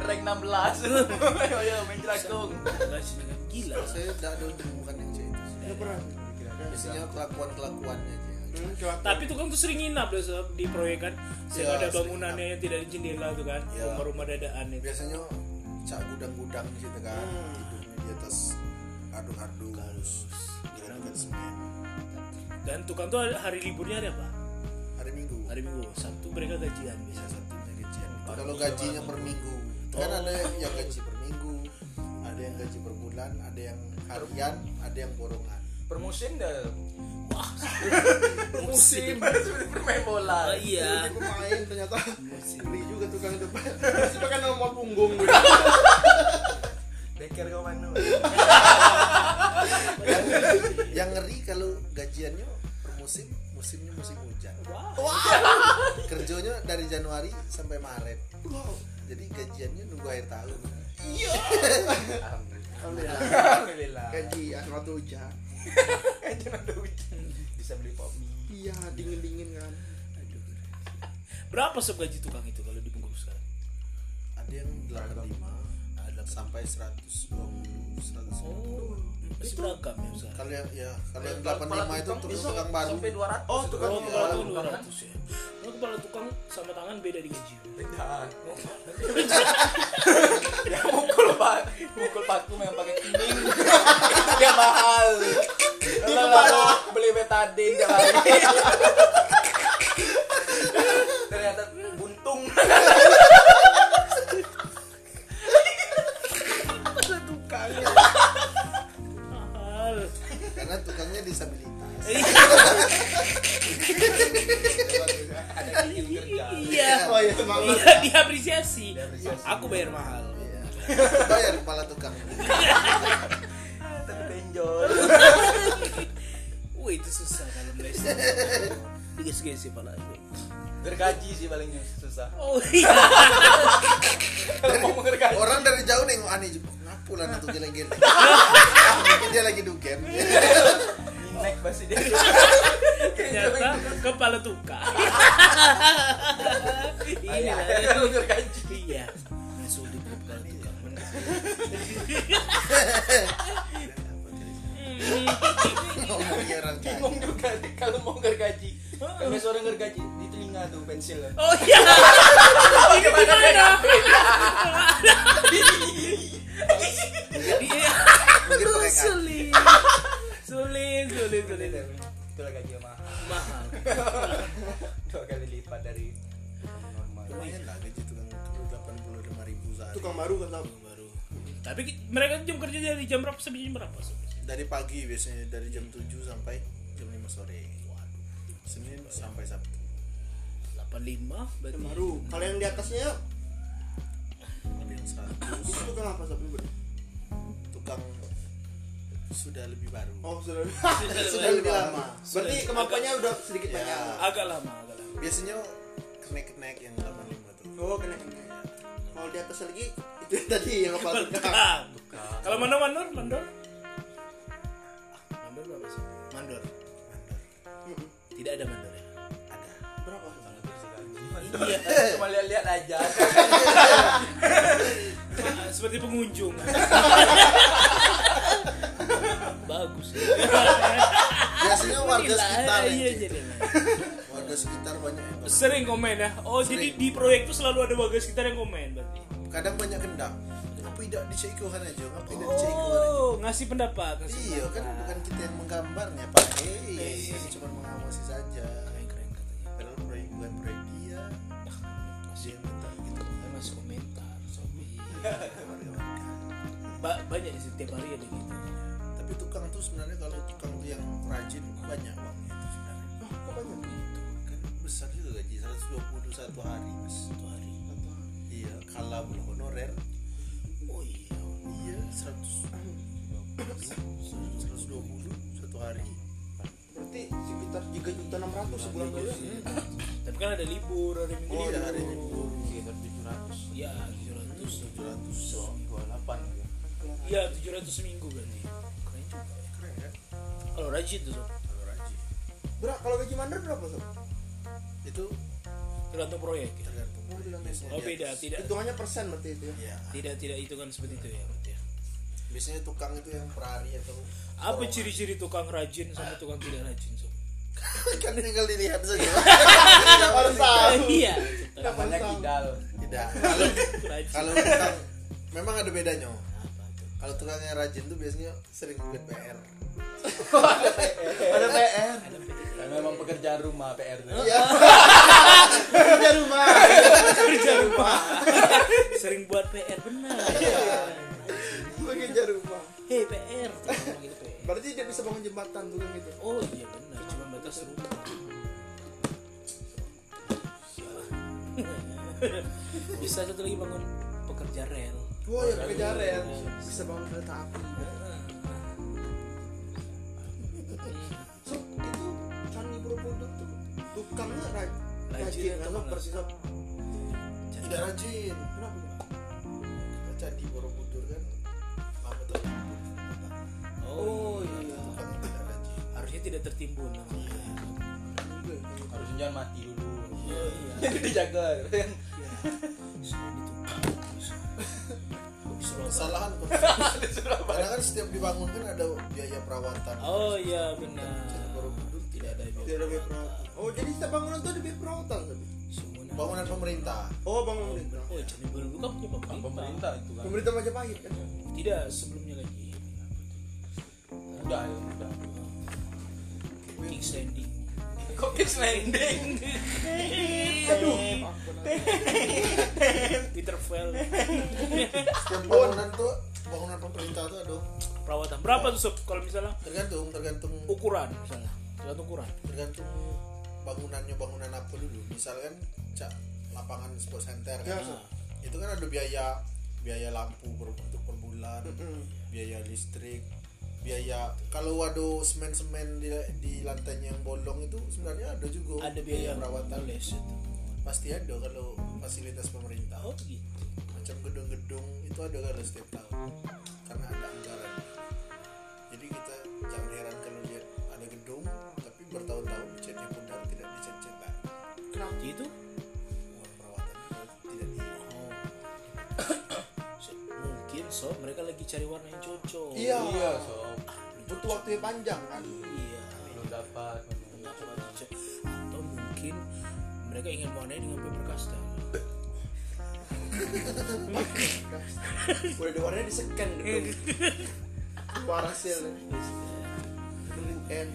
[SPEAKER 2] Rank 16. Ayo, ayo, main jelangkung.
[SPEAKER 1] Relasi dengan gila
[SPEAKER 3] Saya tidak ada hubungan yang cewek itu. Tidak pernah. Biasanya kelakuan kelakuannya aja.
[SPEAKER 5] hmm, kelak-
[SPEAKER 1] tapi tukang tuh sering nginap loh Sob, di proyek kan Sehingga
[SPEAKER 3] Ya,
[SPEAKER 1] ada
[SPEAKER 3] sering
[SPEAKER 1] bangunannya yang tidak di jendela tuh kan
[SPEAKER 3] Ya.
[SPEAKER 1] rumah-rumah dadaan itu
[SPEAKER 3] Biasanya cak gudang-gudang di situ kan. Tidurnya di atas aduk-aduk. Dekat-dekat semen.
[SPEAKER 1] dan tukang tuh hari liburnya hari apa
[SPEAKER 3] Hari Minggu.
[SPEAKER 1] hari minggu sabtu mereka gajian
[SPEAKER 3] Ya,
[SPEAKER 1] biasa
[SPEAKER 3] satunya gajian. Kalau gajinya per minggu. Kan ada yang gaji per minggu, ada yang gaji per bulan, ada yang harian, ada yang borongan.
[SPEAKER 2] Permusim dah.
[SPEAKER 1] musim Ah,
[SPEAKER 2] Seperti bermain bola.
[SPEAKER 4] iya
[SPEAKER 5] Aku main ternyata ngeri juga tukang depan. Terus pakai nomor punggung gue.
[SPEAKER 2] Beker kau mana?
[SPEAKER 3] Yang ngeri kalau gajiannya per musim, musimnya musim hujan. Kerjanya dari Januari sampai Maret. Jadi gajiannya nunggu akhir tahun.
[SPEAKER 5] Alhamdulillah.
[SPEAKER 2] Alhamdulillah.
[SPEAKER 5] Gaji asrama tuh hujan.
[SPEAKER 2] Kayaknya ada hujan. Bisa beli pop mie.
[SPEAKER 5] Iya, dingin-dingin kan.
[SPEAKER 1] berapa sob gaji tukang itu kalau dibungkus sekarang
[SPEAKER 3] Ada yang 85 ada sampai 120, 110.
[SPEAKER 1] oh masih beragam ya sekarang
[SPEAKER 3] Kalau yang ya, kalau yang
[SPEAKER 2] Kepala
[SPEAKER 3] 85 itu
[SPEAKER 2] tukang
[SPEAKER 3] terus
[SPEAKER 2] bisa
[SPEAKER 3] tukang baru.
[SPEAKER 2] Sampai 200.
[SPEAKER 5] Oh, tukang
[SPEAKER 1] kalau
[SPEAKER 5] Iya,
[SPEAKER 1] kepala tukang
[SPEAKER 5] tukang
[SPEAKER 1] 200 ya kalau kepala tukang sama tangan beda di gaji
[SPEAKER 2] Beda. Ya mukul pak, mukul paku yang pakai kening. Itu dia mahal. Kalau baru beli betadin tiap hari. Ternyata buntung.
[SPEAKER 1] mahal
[SPEAKER 3] karena tukangnya disabilitas
[SPEAKER 2] Izin kerja.
[SPEAKER 1] iya
[SPEAKER 5] Oh iya, maaf.
[SPEAKER 1] iya diapresiasi aku bayar mahal
[SPEAKER 3] Iya. bayar kepala tukang
[SPEAKER 2] Tapi benjol.
[SPEAKER 1] Wah itu susah kalau mulai Diges-gesi pala itu
[SPEAKER 2] Gergaji sih palingnya susah.
[SPEAKER 1] Oh iya
[SPEAKER 2] Kalau mau mengergaji.
[SPEAKER 3] orang dari jauh nengok aneh juga kenapa lah tuh geleng-geleng Ah, mungkin dia lagi dugen
[SPEAKER 2] Inek pasti dia.
[SPEAKER 1] Ternyata kepala tukang Ini
[SPEAKER 2] Iya,
[SPEAKER 1] lah
[SPEAKER 2] kalau gergaji.
[SPEAKER 1] Iya Masuk di kepala tukang
[SPEAKER 3] ngomongnya Iya, orang kaya
[SPEAKER 2] bingung juga deh kalau mau gergaji karena suara gergaji di telinga tuh pensil kan
[SPEAKER 1] Oh iya Ini gimana? Iya
[SPEAKER 3] mungkin
[SPEAKER 1] Aduh,
[SPEAKER 3] mereka
[SPEAKER 1] Sulit Sulit Sulit Sulit
[SPEAKER 2] itulah gaji yang mahal
[SPEAKER 1] Mahal
[SPEAKER 2] dua kali lipat dari normal
[SPEAKER 3] lumayan lah gaji tukang delapan puluh lima ribu sehari
[SPEAKER 5] Tukang baru kan sob.
[SPEAKER 3] baru
[SPEAKER 1] Tapi ki- mereka jam kerja dari jam berapa sampai jam berapa? Sob?
[SPEAKER 3] dari pagi biasanya dari jam 7 sampai jam 5 sore waduh senin sampai sabtu
[SPEAKER 1] 85 berarti
[SPEAKER 5] Tukang baru. Kalau yang di atasnya
[SPEAKER 3] ada yang 100
[SPEAKER 5] itu tukang apa sob?
[SPEAKER 3] tukang sudah lebih baru
[SPEAKER 5] Oh, sudah.
[SPEAKER 3] sudah lebih lama
[SPEAKER 5] Berarti kemampuannya udah sedikit
[SPEAKER 3] Ya.
[SPEAKER 5] banyak.
[SPEAKER 1] Agak lama Agak lama
[SPEAKER 3] biasanya kenaik-kenaik yang 85 tuh
[SPEAKER 5] Oh, kena kena. Kalau di atas lagi itu yang tadi yang kepala tukang.
[SPEAKER 1] Tukang. Ah. Kalau mana mandor, mandor? Ah, mandor apa sih? Mandor. Tidak ada mandor ya.
[SPEAKER 5] Berapa?
[SPEAKER 1] Iya.
[SPEAKER 2] cuma lihat-lihat aja
[SPEAKER 1] seperti pengunjung bagus ya.
[SPEAKER 3] biasanya warga
[SPEAKER 1] Menilai,
[SPEAKER 3] sekitar ya,
[SPEAKER 1] iya,
[SPEAKER 3] yang
[SPEAKER 1] jadi.
[SPEAKER 3] warga sekitar banyak yang
[SPEAKER 1] sering komen ya oh jadi di proyek tuh selalu ada warga sekitar yang komen berarti
[SPEAKER 3] kadang banyak kendang kenapa tidak diceikohan aja kenapa tidak diceikohan aja
[SPEAKER 1] oh ngasih pendapat ngasih
[SPEAKER 3] iya kan
[SPEAKER 1] pendapat.
[SPEAKER 3] bukan kita yang menggambarnya pak hei cuma mengawasi saja
[SPEAKER 1] keren keren katanya
[SPEAKER 3] padahal proyek bukan proyek dia dia yang minta gitu
[SPEAKER 1] Kan masih komentar sobi ba banyak sih tiap hari ada gitu
[SPEAKER 3] tapi tukang tuh sebenarnya kalau tukang tuh yang rajin banyak uangnya itu sebenarnya kan besar juga gaji 120 satu hari mas satu hari iya kalau belum honorer oh iya iya 100 120 satu hari
[SPEAKER 5] berarti sekitar 3 juta 600 sebulan dulu ya
[SPEAKER 1] tapi kan ada libur hari minggu
[SPEAKER 3] iya hari libur
[SPEAKER 2] sekitar tujuh ratus
[SPEAKER 1] ya tujuh ratus
[SPEAKER 2] dua
[SPEAKER 3] 700
[SPEAKER 2] dua delapan
[SPEAKER 1] ya tujuh ratus seminggu berarti keren juga ya
[SPEAKER 3] keren kan
[SPEAKER 1] kalau rajin tuh sob
[SPEAKER 3] kalau rajin
[SPEAKER 5] Bro, kalau gaji mandor berapa sob?
[SPEAKER 3] itu
[SPEAKER 1] tergantung proyek ya
[SPEAKER 3] tergantung
[SPEAKER 5] Oh, tergantung.
[SPEAKER 3] biasanya
[SPEAKER 1] oh
[SPEAKER 3] di
[SPEAKER 1] beda
[SPEAKER 3] atas.
[SPEAKER 1] tidak
[SPEAKER 5] hitungannya persen berarti itu ya
[SPEAKER 3] iya
[SPEAKER 1] tidak tidak hitungan seperti itu ya berarti ya
[SPEAKER 3] biasanya tukang itu yang per hari atau
[SPEAKER 1] apa ciri-ciri tukang rajin sama tukang tidak rajin sob
[SPEAKER 3] kan tinggal dilihat saja
[SPEAKER 5] harus tahu
[SPEAKER 1] iya
[SPEAKER 2] namanya kidal
[SPEAKER 3] tidak kalau
[SPEAKER 1] rajin
[SPEAKER 3] kalau tukang memang ada bedanya Om. kalau tukang yang rajin tuh biasanya sering buat PR
[SPEAKER 5] ada PR
[SPEAKER 2] Karena memang pekerjaan rumah PR
[SPEAKER 3] iya
[SPEAKER 5] kerja rumah
[SPEAKER 1] kerja rumah sering buat PR benar
[SPEAKER 5] kerja rumah
[SPEAKER 1] hei PR Ngomong gitu PR
[SPEAKER 5] berarti dia bisa bangun jembatan tuh kan gitu
[SPEAKER 1] Oh iya benar, cuma batas rumah. Bisa satu lagi bangun pekerja rel.
[SPEAKER 5] wah ya kerja rel bisa bangun kereta api so itu Candi Borobudur tuh tukangnya raj rajin
[SPEAKER 1] atau
[SPEAKER 5] atau
[SPEAKER 1] enggak?
[SPEAKER 5] persis apa?
[SPEAKER 3] tidak rajin
[SPEAKER 5] kenapa Bro?
[SPEAKER 3] Kalau candi borobudur kan lama tuh
[SPEAKER 1] Oh iya,
[SPEAKER 3] tukang tidak rajin
[SPEAKER 1] harusnya tidak tertimbun.
[SPEAKER 5] Juga ya, kayak
[SPEAKER 2] harusnya jangan mati dulu
[SPEAKER 1] Iya iya.
[SPEAKER 2] jadi dijaga
[SPEAKER 1] Soalnya itu. Di Surabaya.
[SPEAKER 3] kesalahan kok karena kan setiap dibangun kan ada biaya perawatan
[SPEAKER 1] Oh iya benar.
[SPEAKER 3] Candi borobudur
[SPEAKER 1] Tidak ada
[SPEAKER 5] dia ada
[SPEAKER 1] biaya.
[SPEAKER 5] biaya perawatan oh jadi setiap bangunan tuh ada biaya perawatan Sob?
[SPEAKER 1] Semua nama-
[SPEAKER 3] bangunan pemerintah
[SPEAKER 5] oh bangun pemerintah
[SPEAKER 1] Oh jadi baru buka punya
[SPEAKER 2] Kan
[SPEAKER 1] pemerintah.
[SPEAKER 2] pemerintah itu kan
[SPEAKER 5] pemerintah Majapahit kan
[SPEAKER 1] Tidak sebelumnya lagi.
[SPEAKER 2] udah ya udah
[SPEAKER 1] Kick standing.
[SPEAKER 2] kok kiss landing
[SPEAKER 1] Aduh. Peter Fell.
[SPEAKER 3] setiap bangunan tuh bangunan pemerintah tuh aduh
[SPEAKER 1] perawatan berapa tuh sob kalau misalnya
[SPEAKER 3] tergantung tergantung
[SPEAKER 1] ukuran misalnya tergantung ukuran
[SPEAKER 3] tergantung bangunannya bangunan apa dulu misalkan cak lapangan sport center kan?
[SPEAKER 5] Ya,
[SPEAKER 3] Nah, itu kan ada biaya biaya lampu per, untuk per bulan biaya listrik biaya kalau ada semen semen di, di lantainya yang bolong itu sebenarnya ada juga
[SPEAKER 1] ada biaya
[SPEAKER 3] perawatan
[SPEAKER 1] les itu
[SPEAKER 3] pasti ada kalau fasilitas pemerintah
[SPEAKER 1] oh gitu
[SPEAKER 3] macam gedung-gedung itu ada kan setiap tahun karena ada anggaran jadi kita jangan heran kalau lihat ada gedung tapi bertahun-tahun catnya pun dan tidak dicat-cat lah.
[SPEAKER 1] gitu
[SPEAKER 3] uang perawatan pun tidak di
[SPEAKER 1] oh. Sob, mungkin sob mereka lagi cari warna yang cocok
[SPEAKER 5] Iya.
[SPEAKER 2] iya sob
[SPEAKER 5] butuh waktu yang panjang kan
[SPEAKER 1] iya
[SPEAKER 2] belum dapat
[SPEAKER 1] Nggak cuma cocok. atau mungkin mereka ingin warnanya dengan paper custom
[SPEAKER 5] udah diwarnanya di scan gedung parasil UN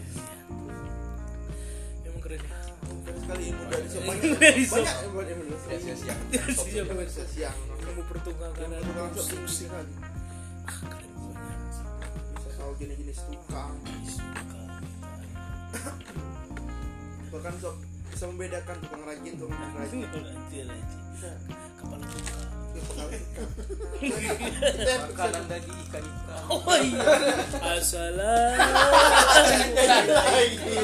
[SPEAKER 1] memang keren ya
[SPEAKER 5] keren sekali ibu dari siapa
[SPEAKER 1] Dari siapa?
[SPEAKER 5] banyak yang buat Indonesia
[SPEAKER 2] ya sia-sia
[SPEAKER 1] siapa
[SPEAKER 5] Bukan dari siang
[SPEAKER 1] kamu pertunggangan
[SPEAKER 5] tukang
[SPEAKER 1] harus
[SPEAKER 5] produksi kan
[SPEAKER 1] ah keren banget
[SPEAKER 5] bisa tahu jenis-jenis tukang
[SPEAKER 1] suka
[SPEAKER 5] bahkan sob bisa membedakan tukang rajin tukang tidak rajin
[SPEAKER 1] nanti lagi kepala tukang
[SPEAKER 5] kan kita
[SPEAKER 2] makanan dari ikan ikan
[SPEAKER 1] Oh iya. Assalamualaikum.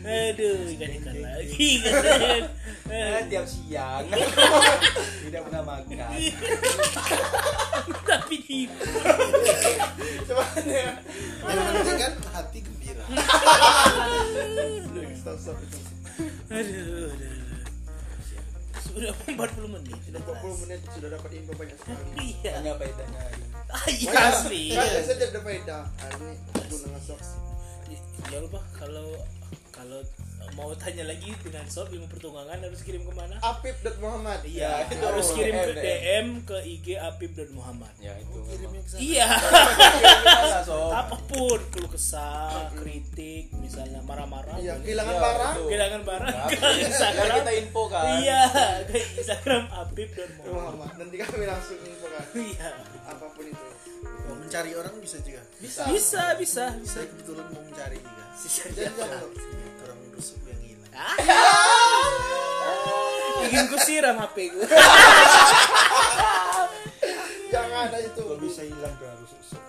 [SPEAKER 1] Aduh, ikan ikan lagi. kan.
[SPEAKER 2] Eh, tiap siang tidak pernah makan
[SPEAKER 1] Tapi di
[SPEAKER 3] yang penting kan hati gembira
[SPEAKER 5] stop stop itu
[SPEAKER 1] aduh, aduh. aduh. Sudah 40 menit.
[SPEAKER 5] Sudah 40 menit sudah dapat info banyak sekali.
[SPEAKER 1] Iya.
[SPEAKER 2] Tanya bedanya
[SPEAKER 1] Ah, iya
[SPEAKER 5] Banyak.
[SPEAKER 1] asli.
[SPEAKER 5] Kan biasa tidak ada faedah. Hari ini aku ngesok.
[SPEAKER 1] Ya lupa kalau kalau mau tanya lagi dengan sob ilmu pertunggangan harus kirim kemana?
[SPEAKER 5] Apip.muhammad.
[SPEAKER 1] Iya,
[SPEAKER 5] itu
[SPEAKER 1] harus kirim ke
[SPEAKER 2] DM.
[SPEAKER 1] DM ke IG Apip dan Muhammad.
[SPEAKER 2] Ya itu memang.
[SPEAKER 1] Iya,
[SPEAKER 2] Gimana, Sob?
[SPEAKER 1] apapun keluh kesah, kritik, misalnya marah-marah,
[SPEAKER 5] Iya,
[SPEAKER 1] boleh.
[SPEAKER 5] kehilangan
[SPEAKER 2] Iya,
[SPEAKER 5] barang.
[SPEAKER 2] betul.
[SPEAKER 1] kehilangan barang
[SPEAKER 2] Tapi,
[SPEAKER 1] ke
[SPEAKER 2] Biar
[SPEAKER 1] Instagram.
[SPEAKER 2] kita info kan
[SPEAKER 1] Iya, ke Instagram Apip dan Muhammad.
[SPEAKER 5] Muhammad. Nanti kami langsung info kan.
[SPEAKER 1] Iya.
[SPEAKER 5] Apapun itu.
[SPEAKER 3] mau mencari orang bisa juga
[SPEAKER 5] Bisa.
[SPEAKER 1] Bisa, bisa, bisa.
[SPEAKER 3] saya kebetulan mau mencari juga
[SPEAKER 5] Jadi jangan Sob.
[SPEAKER 3] orang rusuk yang hilang
[SPEAKER 1] Ah. Ingin ku siram HP gue.
[SPEAKER 5] Jangan ada itu.
[SPEAKER 2] Kalau bisa hilang tuh harus usut.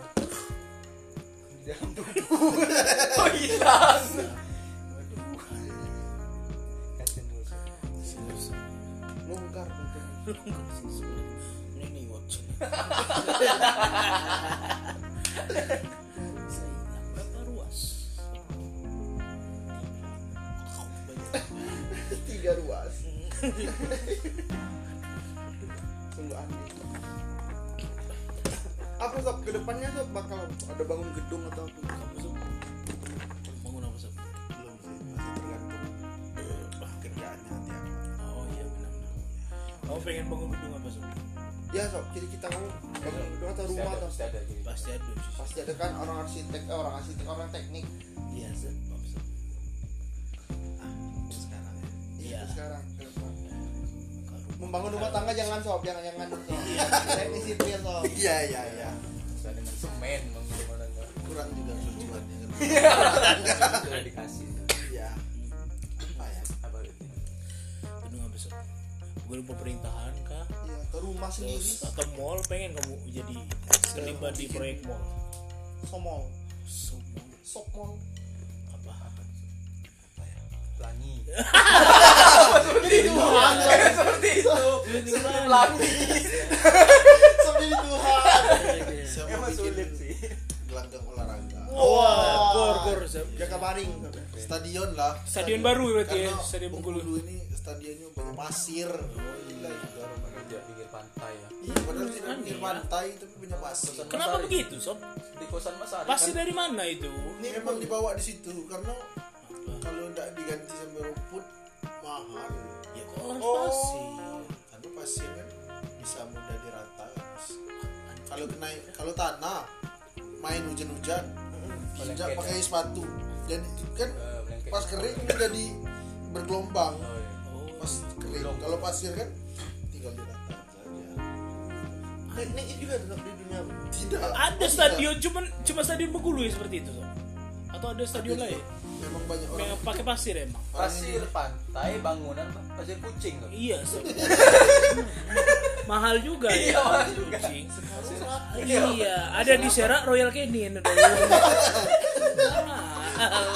[SPEAKER 2] Kasian dulu, Sob.
[SPEAKER 5] Longgar bentuknya.
[SPEAKER 1] Ini watch. Berapa ruas?
[SPEAKER 5] Tiga ruas. Sungguh aneh. Apa sob kedepannya sob bakal ada bangun gedung atau apa?
[SPEAKER 1] Kamu Sob? Bangun apa Sob?
[SPEAKER 3] belum sih masih tergantung eh, kerjaannya tiap
[SPEAKER 1] Oh iya benar-benar. Kamu pengen bangun gedung apa Sob?
[SPEAKER 5] Ya sob, jadi kita mau bangun gedung atau
[SPEAKER 2] Pasti
[SPEAKER 5] rumah
[SPEAKER 2] ada,
[SPEAKER 5] atau
[SPEAKER 2] pasti ada jadi.
[SPEAKER 1] Pasti ada sih.
[SPEAKER 5] pasti ada kan orang arsitek eh, orang arsitek orang teknik
[SPEAKER 1] Iya Sob. Maaf, Sob. Ah,
[SPEAKER 3] sekarang ya
[SPEAKER 1] Iya.
[SPEAKER 5] itu sekarang ke depan.
[SPEAKER 1] Kalau
[SPEAKER 5] membangun rumah tangga jangan sob jangan jangan sob teknis sipil sob
[SPEAKER 3] iya iya iya
[SPEAKER 2] Bisa dengan semen bagaimana enggak.
[SPEAKER 3] kurang juga tujuannya kan
[SPEAKER 2] Sudah dikasih.
[SPEAKER 3] iya apa ya
[SPEAKER 2] Apa itu?
[SPEAKER 1] gedung apa Sob? Gedung pemerintahan kah?
[SPEAKER 5] iya ke rumah sendiri
[SPEAKER 1] Terus atau mall pengen kamu jadi terlibat di proyek mall?
[SPEAKER 5] somol
[SPEAKER 1] Semua
[SPEAKER 5] sop mall
[SPEAKER 1] apa?
[SPEAKER 2] Pelangi.
[SPEAKER 5] sendiri Tuhan
[SPEAKER 2] Seperti itu.
[SPEAKER 5] sendiri Tuhan
[SPEAKER 3] saya mau
[SPEAKER 2] Emang
[SPEAKER 3] bikin
[SPEAKER 2] sulit sih.
[SPEAKER 3] gelanggang olahraga
[SPEAKER 1] Wah, gor gor Sob.
[SPEAKER 5] jaga baring sob.
[SPEAKER 3] stadion lah
[SPEAKER 1] Stadion baru berarti ya,
[SPEAKER 3] karena
[SPEAKER 1] Stadion Bengkulu.
[SPEAKER 3] Bengkulu ini stadionnya banyak pasir Oh, gila juga rumahnya
[SPEAKER 2] Dia pinggir pantai ya.
[SPEAKER 3] Iya, padahal tidak di pantai tapi punya pasir.
[SPEAKER 2] Pesan
[SPEAKER 1] Kenapa
[SPEAKER 2] Mas Ari.
[SPEAKER 1] begitu Sob?
[SPEAKER 2] Di kosan Mas Ari.
[SPEAKER 1] Pasti
[SPEAKER 2] kan?
[SPEAKER 1] dari mana itu?
[SPEAKER 2] Iya,
[SPEAKER 3] Ini emang dibawa di situ karena kalau tidak diganti sama rumput mahal.
[SPEAKER 1] Ya kok transportasi.
[SPEAKER 3] Karena pasir kan bisa mudah dirata. Kalau kena kalau tanah main hujan-hujan
[SPEAKER 2] Melengket,
[SPEAKER 3] sejak pakai sepatu jadi kan
[SPEAKER 2] Eh, melengket.
[SPEAKER 3] pas kering jadi bergelombang
[SPEAKER 2] Oh, iya.
[SPEAKER 1] Oh,
[SPEAKER 3] pas kering kalau pasir kan tinggal dirata saja
[SPEAKER 5] teknik juga tetap di dunia
[SPEAKER 3] tidak
[SPEAKER 1] ada
[SPEAKER 3] tidak.
[SPEAKER 1] stadion cuman cuma stadion Bengkulu ya seperti itu Sob. Atau ada stadion lain?
[SPEAKER 3] memang banyak orang
[SPEAKER 1] Yang pakai pasir emang.
[SPEAKER 2] Pasir pantai, bangunan pasir kucing loh.
[SPEAKER 1] Iya, Sob. mahal juga ya.
[SPEAKER 2] Iya, mahal juga.
[SPEAKER 1] Kucing.
[SPEAKER 2] Iya.
[SPEAKER 1] Iya, ada di Serak Royal Canin. Ada. Mahal.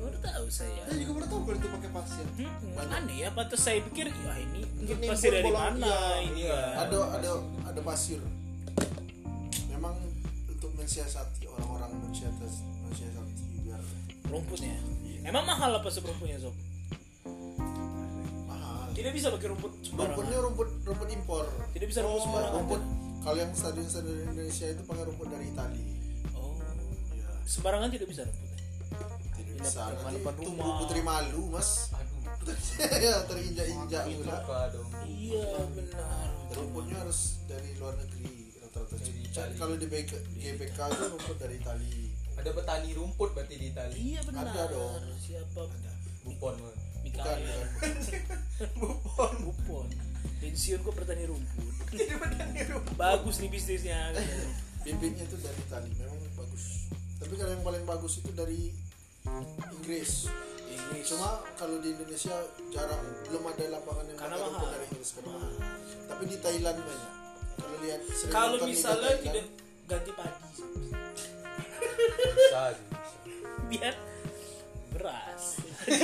[SPEAKER 1] Baru tahu saya.
[SPEAKER 5] saya juga baru tahu kalau itu pakai pasir
[SPEAKER 1] Hmm, aneh ya, pantas saya pikir wah ini
[SPEAKER 5] Ini
[SPEAKER 1] pasti dari
[SPEAKER 5] bolong-
[SPEAKER 1] mana ini
[SPEAKER 2] iya.
[SPEAKER 1] kan.
[SPEAKER 3] ada ada ada pasir memang untuk mensiasati orang-orang mensiasati mensiasati biar
[SPEAKER 1] rumputnya. Emang mahal apa sih rumputnya sob?
[SPEAKER 3] mahal
[SPEAKER 1] Tidak bisa pakai rumput
[SPEAKER 3] rumputnya
[SPEAKER 1] sembarangan.
[SPEAKER 3] rumput rumput impor Oh,
[SPEAKER 1] Tidak bisa rumput sembarangan.
[SPEAKER 3] rumput kalau yang stadion stadion Indonesia itu pakai rumput dari Itali
[SPEAKER 1] Oh,
[SPEAKER 3] ya
[SPEAKER 1] sembarangan tidak bisa rumputnya.
[SPEAKER 3] tidak
[SPEAKER 1] Ini
[SPEAKER 3] bisa
[SPEAKER 1] depan-
[SPEAKER 3] nanti
[SPEAKER 1] depan
[SPEAKER 3] tumbuh
[SPEAKER 1] rumah.
[SPEAKER 3] putri malu mas
[SPEAKER 2] Aduh,
[SPEAKER 3] terinjak-injak pula
[SPEAKER 2] luka dong.
[SPEAKER 1] Iya benar.
[SPEAKER 3] rumputnya harus dari luar negeri rata-rata
[SPEAKER 2] Dari
[SPEAKER 3] Cari
[SPEAKER 2] Itali.
[SPEAKER 3] kalau di BK, GBK itu rumput dari Itali
[SPEAKER 2] Ada petani rumput berarti di Itali.
[SPEAKER 1] Iya benar.
[SPEAKER 3] Ada dong.
[SPEAKER 1] Siapa?
[SPEAKER 3] ada
[SPEAKER 2] Buffon. loh.
[SPEAKER 3] bukan
[SPEAKER 1] Mikael.
[SPEAKER 3] bukan
[SPEAKER 1] Bukan. Bukan. Pensiun kok petani rumput. Jadi petani rumput. Bagus nih bisnisnya.
[SPEAKER 3] bibitnya itu dari Itali memang bagus tapi kalau yang paling bagus itu dari Inggris
[SPEAKER 1] Inggris.
[SPEAKER 3] cuma kalau di Indonesia jarang belum ada lapangan yang
[SPEAKER 1] Karena
[SPEAKER 3] pakai rumput
[SPEAKER 1] mahal.
[SPEAKER 3] dari Inggris karena mahal. tapi di Thailand banyak kalau lihat sering
[SPEAKER 1] Kalau
[SPEAKER 3] nonton Liga
[SPEAKER 1] misalnya
[SPEAKER 3] Thailand,
[SPEAKER 1] tidak ganti padi, Sob.
[SPEAKER 2] Bisa sih.
[SPEAKER 1] biar beras.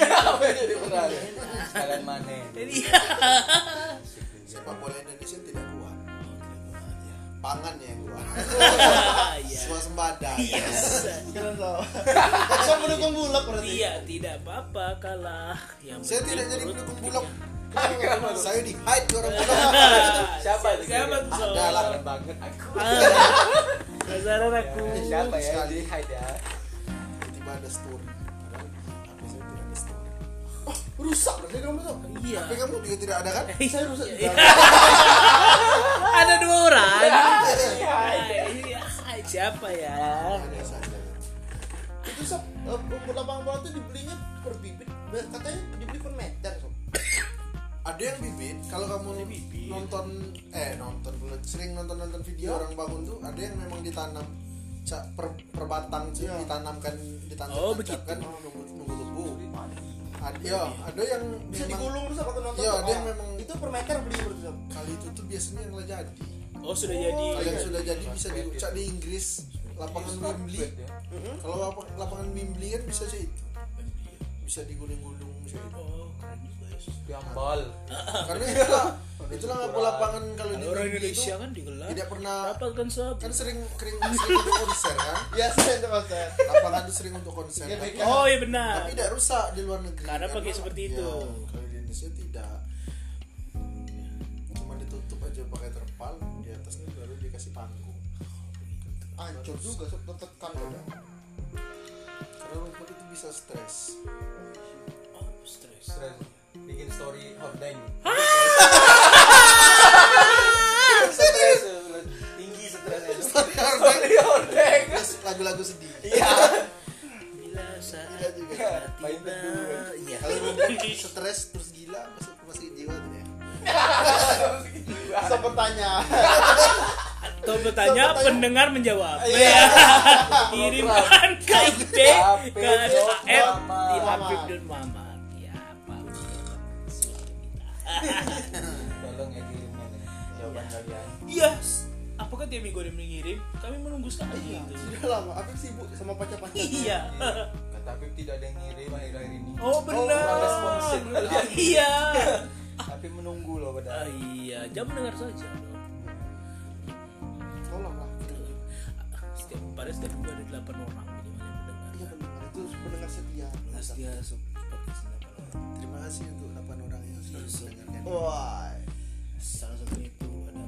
[SPEAKER 2] Apa jadi berat? Sekalian manen.
[SPEAKER 1] Jadi ya.
[SPEAKER 3] sepak bola Indonesia tidak kuat pangan yang kuat
[SPEAKER 1] ya. Iya.
[SPEAKER 3] swasembada
[SPEAKER 1] Yes.
[SPEAKER 6] Keren tau. Saya mendukung bulak berarti.
[SPEAKER 1] Iya, tidak apa-apa kalah. Yang
[SPEAKER 3] saya
[SPEAKER 1] penting
[SPEAKER 3] tidak jadi
[SPEAKER 1] menurut
[SPEAKER 3] pendukung
[SPEAKER 1] publik
[SPEAKER 3] bulog
[SPEAKER 1] yang-
[SPEAKER 3] saya di hide orang bulog
[SPEAKER 1] Ah,
[SPEAKER 2] Siapa itu?
[SPEAKER 1] Siapa tuh?
[SPEAKER 3] Ada lah.
[SPEAKER 2] Saran banget aku.
[SPEAKER 1] Sasaran aku.
[SPEAKER 2] Siapa ya? Jadi hide ya.
[SPEAKER 3] tiba ada story Padahal HP saya tidak ada story
[SPEAKER 6] Oh, Rusak berarti kamu tuh.
[SPEAKER 1] Iya.
[SPEAKER 3] tapi kamu juga tidak ada kan
[SPEAKER 6] Saya rusak.
[SPEAKER 1] Ada dua orang.
[SPEAKER 2] Iya.
[SPEAKER 1] Iya, siapa ya?
[SPEAKER 3] ada saja
[SPEAKER 6] Itu sob, eh, lapang bola tuh dibelinya per bibit. Be- Katanya dibeli per meter sob.
[SPEAKER 3] ada yang bibit kalau kamu nonton eh nonton pula, sering nonton nonton
[SPEAKER 6] Iya.
[SPEAKER 3] video orang bangun tuh ada yang memang ditanam ca- per, per batang
[SPEAKER 6] Iya.
[SPEAKER 3] sih ditanamkan ditanam
[SPEAKER 1] Oh, begitu.
[SPEAKER 3] kan
[SPEAKER 6] Ah,
[SPEAKER 3] nunggu nunggu tumbuh ada ya, ada yang
[SPEAKER 6] Bisa
[SPEAKER 3] memang-
[SPEAKER 6] digulung terus aku nonton.
[SPEAKER 3] Iya,
[SPEAKER 6] sob.
[SPEAKER 3] ada
[SPEAKER 5] Oh,
[SPEAKER 3] yang memang
[SPEAKER 6] Itu per meter beli berarti sob.
[SPEAKER 3] kali itu tuh biasanya yang nggak jadi
[SPEAKER 1] Oh, sudah jadi.
[SPEAKER 3] kalau yang sudah jadi bisa diucap di Inggris lapangan Wembley
[SPEAKER 1] ya?
[SPEAKER 2] ya?
[SPEAKER 3] kalau lapang- lapangan Wembley kan bisa sih itu bisa digulung-gulung bisa itu
[SPEAKER 1] Oh, keren juga ya.
[SPEAKER 2] Gambal.
[SPEAKER 3] karena itulah itulah apa lapangan kalau di
[SPEAKER 1] Kalau Ah, orang
[SPEAKER 3] Wembley itu
[SPEAKER 1] Indonesia kan digelar.
[SPEAKER 3] tidak pernah
[SPEAKER 1] Apa kan sob?
[SPEAKER 3] kan sering kering sering untuk konser kan
[SPEAKER 6] Iya, saya itu konser.
[SPEAKER 3] lapangan itu sering untuk konser kan?
[SPEAKER 6] Iya,
[SPEAKER 3] tapi,
[SPEAKER 6] BK.
[SPEAKER 1] Oh, iya benar.
[SPEAKER 3] tapi tidak rusak di luar negeri
[SPEAKER 1] Karena pakai seperti
[SPEAKER 3] ya,
[SPEAKER 1] itu.
[SPEAKER 3] kalau di Indonesia tidak cuma ditutup aja pakai terpal di atasnya baru dikasih panggung
[SPEAKER 6] Hancur juga sob tertekan udah.
[SPEAKER 3] karena rumput itu bisa stres
[SPEAKER 1] Oh, stres.
[SPEAKER 2] Keren. Bikin story hordeng. Stres. eh, Tinggi stresnya. Story hordeng.
[SPEAKER 3] Terus lagu-lagu sedih
[SPEAKER 2] Iya.
[SPEAKER 1] Bila saat
[SPEAKER 3] Tidak juga
[SPEAKER 2] Main
[SPEAKER 1] tiba.
[SPEAKER 2] berdua.
[SPEAKER 1] Iya.
[SPEAKER 3] kalau rumput stres terus gila masuk masih jiwa tuh ya
[SPEAKER 6] Sob bertanya.
[SPEAKER 1] Atau bertanya, pendengar menjawab. Kirimkan ke IP
[SPEAKER 2] Habib
[SPEAKER 1] ke DM
[SPEAKER 2] Don Mamat.
[SPEAKER 1] di Habib Don Mamat. Ya, apa?
[SPEAKER 2] Tolong ya kirimkan ya. jawaban kalian.
[SPEAKER 1] Iya. Yes. Apakah tiap minggu ada yang mengirim? Kami menunggu sekali gitu.
[SPEAKER 6] Sudah lama, aku sibuk sama pacar-pacar.
[SPEAKER 1] Iya.
[SPEAKER 2] Kata Habib tidak ada yang ngirim akhir-akhir ini.
[SPEAKER 1] Oh benar.
[SPEAKER 2] kurang responsif.
[SPEAKER 1] iya.
[SPEAKER 2] Tapi menunggu loh
[SPEAKER 1] Ah,
[SPEAKER 2] padahal.
[SPEAKER 1] iya, jangan mendengar saja. dong.
[SPEAKER 6] Tolonglah.
[SPEAKER 1] Setiap pada setiap minggu ada delapan orang minimal yang mendengar.
[SPEAKER 6] Iya pendengar itu pendengar setia.
[SPEAKER 1] Pasti ya, sup- podcast ini delapan orang.
[SPEAKER 3] terima kasih untuk 8 orang yang sudah mendengarkan
[SPEAKER 1] Oh,
[SPEAKER 6] Wah.
[SPEAKER 1] Salah satunya itu ada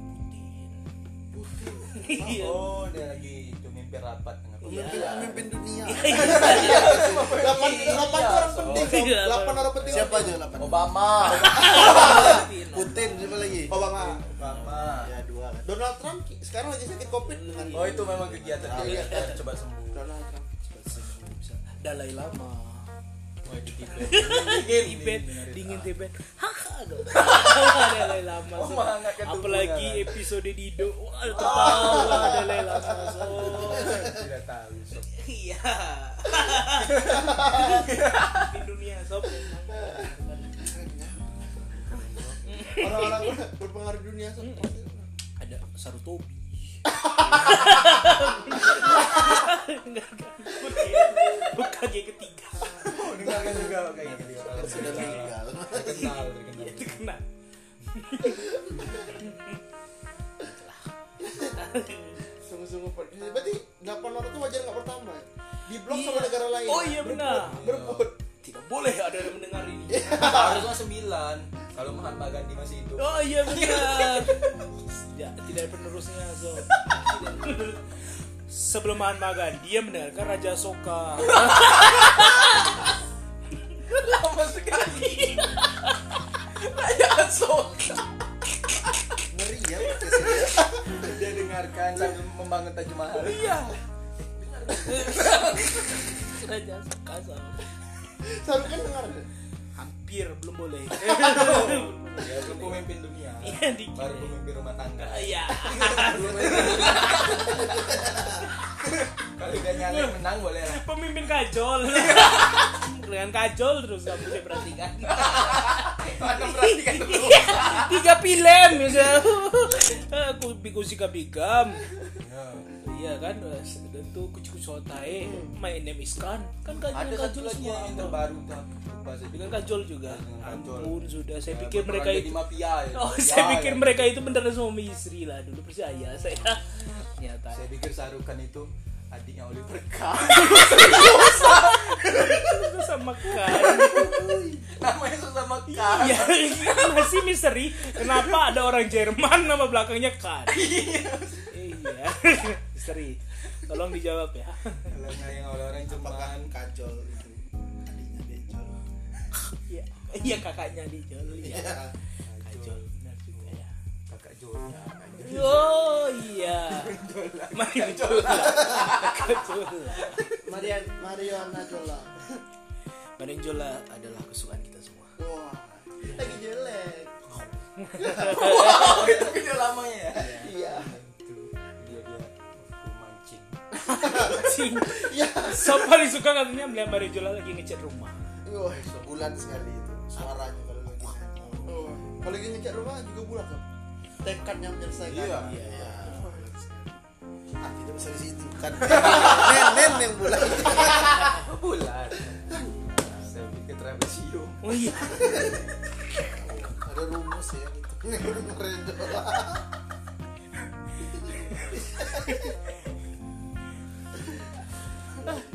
[SPEAKER 1] Putin. Iya.
[SPEAKER 2] Oh, dia lagi itu mimpi rapat dengan
[SPEAKER 1] Iya.
[SPEAKER 2] pemerintah.
[SPEAKER 3] pemimpin dunia
[SPEAKER 6] Delapan delapan tuh orang penting. Sob.
[SPEAKER 1] Iya.
[SPEAKER 6] Delapan orang penting.
[SPEAKER 3] siapa aja 8
[SPEAKER 2] Obama.
[SPEAKER 3] Putin siapa lagi
[SPEAKER 6] Obama.
[SPEAKER 2] Obama.
[SPEAKER 3] ya dua kan
[SPEAKER 6] Donald Trump ki- sekarang lagi sakit covid dengan
[SPEAKER 2] Oh, itu memang kegiatan dia. Biar Coba sembuh.
[SPEAKER 6] Donald Trump.
[SPEAKER 1] Dalai Lama.
[SPEAKER 2] Oh, itu Tibet.
[SPEAKER 1] Tibet, dingin Tibet. Haha, aduh. Dalai Lama.
[SPEAKER 2] Oh,
[SPEAKER 1] Sob.
[SPEAKER 2] menghangatkan tubuh,
[SPEAKER 1] Apalagi
[SPEAKER 2] kan?
[SPEAKER 1] episode Dido. Wah, ketawa Dalai Lama. Sob.
[SPEAKER 2] Tidak tahu. Sob.
[SPEAKER 1] Oh. Iya. di dunia sob.
[SPEAKER 6] Orang-orang ber- berpengaruh dunia so.
[SPEAKER 1] Ada Sarutobi. Enggak, enggak. Bukan yang ketiga.
[SPEAKER 2] Oh, dengarkan juga kayak gitu.
[SPEAKER 3] sudah
[SPEAKER 6] Iya.
[SPEAKER 3] meninggal
[SPEAKER 2] Terkenal, terkenal.
[SPEAKER 1] Itu kena.
[SPEAKER 6] Sungguh-sungguh per- Iya, Berarti delapan orang itu wajar nggak bertambah. ya? Di blok sama negara lain.
[SPEAKER 1] Oh iya benar.
[SPEAKER 6] Berebut.
[SPEAKER 1] Tidak boleh ada yang mendengar ini.
[SPEAKER 2] Harusnya sembilan. Kalau Mahatma Gandhi masih hidup.
[SPEAKER 1] Oh iya benar. tidak, tidak ada penerusnya sob. Sebelum Mahatma Gandhi dia mendengarkan Raja Soka.
[SPEAKER 2] Lama sekali. Raja Asoka.
[SPEAKER 3] ngeri ya podcast ini.
[SPEAKER 2] Dia dengarkan sambil membangun Taj Mahal.
[SPEAKER 1] Iya. Raja Soka sob.
[SPEAKER 6] Saru kan dengar. deh.
[SPEAKER 1] hampir belum boleh
[SPEAKER 2] Ya, belum pemimpin dunia.
[SPEAKER 1] Iya, dikit.
[SPEAKER 2] Baru pemimpin rumah tangga.
[SPEAKER 1] iya
[SPEAKER 2] Kalau udah nyalek menang boleh lah.
[SPEAKER 1] pemimpin kajol dengan kajol terus nggak bisa perhatikan
[SPEAKER 2] Mana perhatikan dulu.
[SPEAKER 1] tiga pilem bisa aku bikus si kabigam
[SPEAKER 2] Ya.
[SPEAKER 1] iya kan itu kucu kucu otai my name is kan kan kajol
[SPEAKER 2] Hmm. Ada satu
[SPEAKER 1] kajol
[SPEAKER 2] lagi
[SPEAKER 1] semua
[SPEAKER 2] yang terbaru tuh. aku Lupa saya.
[SPEAKER 1] dengan kajol juga
[SPEAKER 2] Dengan kajol.
[SPEAKER 1] ampun sudah
[SPEAKER 2] Ya,
[SPEAKER 1] saya pikir mereka
[SPEAKER 2] Berperan
[SPEAKER 1] itu
[SPEAKER 2] jadi mafia ya.
[SPEAKER 1] Oh,
[SPEAKER 2] Ya,
[SPEAKER 1] saya pikir
[SPEAKER 2] ya.
[SPEAKER 1] mereka itu beneran suami istri lah dulu percaya saya. ternyata
[SPEAKER 2] Saya pikir Sarukan itu adiknya Oliver Kahn.
[SPEAKER 1] susah makan
[SPEAKER 2] Namanya sesama Kahn.
[SPEAKER 1] ya masih misteri kenapa ada orang Jerman nama belakangnya kan iya misteri tolong dijawab ya
[SPEAKER 2] Kalau nggak yang orang-orang
[SPEAKER 3] apakah
[SPEAKER 2] cuman
[SPEAKER 3] kajol itu adiknya Bejol
[SPEAKER 1] iya iya kakaknya di
[SPEAKER 6] Iya.
[SPEAKER 5] Iya.
[SPEAKER 1] ya
[SPEAKER 2] Iya.
[SPEAKER 1] Ajol benar juga ya
[SPEAKER 2] kakak Jolnya.
[SPEAKER 1] oh iya Mario Jola Kakak Jola
[SPEAKER 6] Marian Mariana Jola.
[SPEAKER 1] Mario Jola adalah kesukaan kita semua
[SPEAKER 6] Wah, lagi jelek.
[SPEAKER 2] Oh, itu video lamanya ya.
[SPEAKER 6] Iya.
[SPEAKER 2] Itu dia dia aku mancing.
[SPEAKER 1] sih so paling suka katanya melihat Mario Jola lagi ngecat rumah
[SPEAKER 6] Wah.
[SPEAKER 3] sebulan sekali itu suaranya kalau lagi
[SPEAKER 6] Oh. Kalau lagi ngecat rumah juga bulat kan. Tekadnya menyelesaikan.
[SPEAKER 2] Iya.
[SPEAKER 1] iya
[SPEAKER 3] akhirnya Ah, bisa di situ kan nenen yang bulan
[SPEAKER 2] Apa bulan? Saya pikir Travisio.
[SPEAKER 1] oh iya
[SPEAKER 3] ada rumus ya gitu Renjola.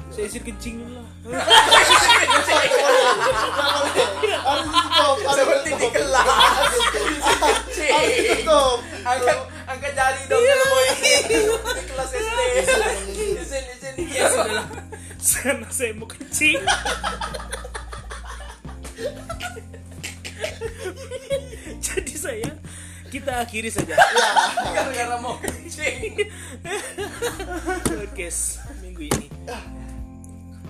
[SPEAKER 1] saya isir kencing dulu lah
[SPEAKER 6] Harus stop, harus
[SPEAKER 2] Seperti di kelas. Kecil.
[SPEAKER 6] stop.
[SPEAKER 2] angkat angkat jari dong
[SPEAKER 6] Iya.
[SPEAKER 2] kalau mau ikut di kelas SD izin izin ya sudah
[SPEAKER 1] sana saya mau kencing jadi saya kita akhiri saja
[SPEAKER 2] Iya, gara-gara mau kencing
[SPEAKER 1] podcast minggu ini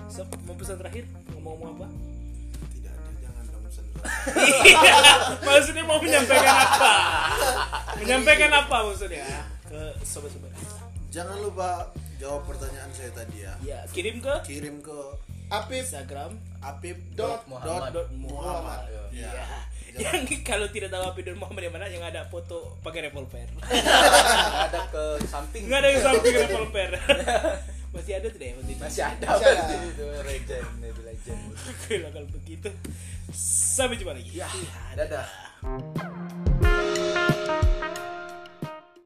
[SPEAKER 1] Sob, mau pesan terakhir ngomong-ngomong apa
[SPEAKER 3] tidak ada jangan dong sendal
[SPEAKER 1] Iya, maksudnya mau menyampaikan apa menyampaikan apa maksudnya ke sobat-sobat
[SPEAKER 3] jangan lupa jawab pertanyaan saya tadi ya
[SPEAKER 1] ya kirim ke
[SPEAKER 3] kirim ke
[SPEAKER 6] Apip
[SPEAKER 1] Instagram
[SPEAKER 3] apip
[SPEAKER 6] dot Iya.
[SPEAKER 2] Muhammad
[SPEAKER 1] dot Muhammad
[SPEAKER 3] ya
[SPEAKER 1] Ya. yang kalau tidak tahu Abidun Muhammad yang mana yang ada foto pakai revolver
[SPEAKER 2] ada ke samping
[SPEAKER 1] nggak ada yang sama pakai revolver masih ada tidak ya waktu itu
[SPEAKER 2] masih ada
[SPEAKER 6] Masih ada.
[SPEAKER 2] berarti itu legend maybe legend
[SPEAKER 1] Oke lah kalau begitu sampai jumpa lagi
[SPEAKER 2] ya dadah
[SPEAKER 6] Dadah.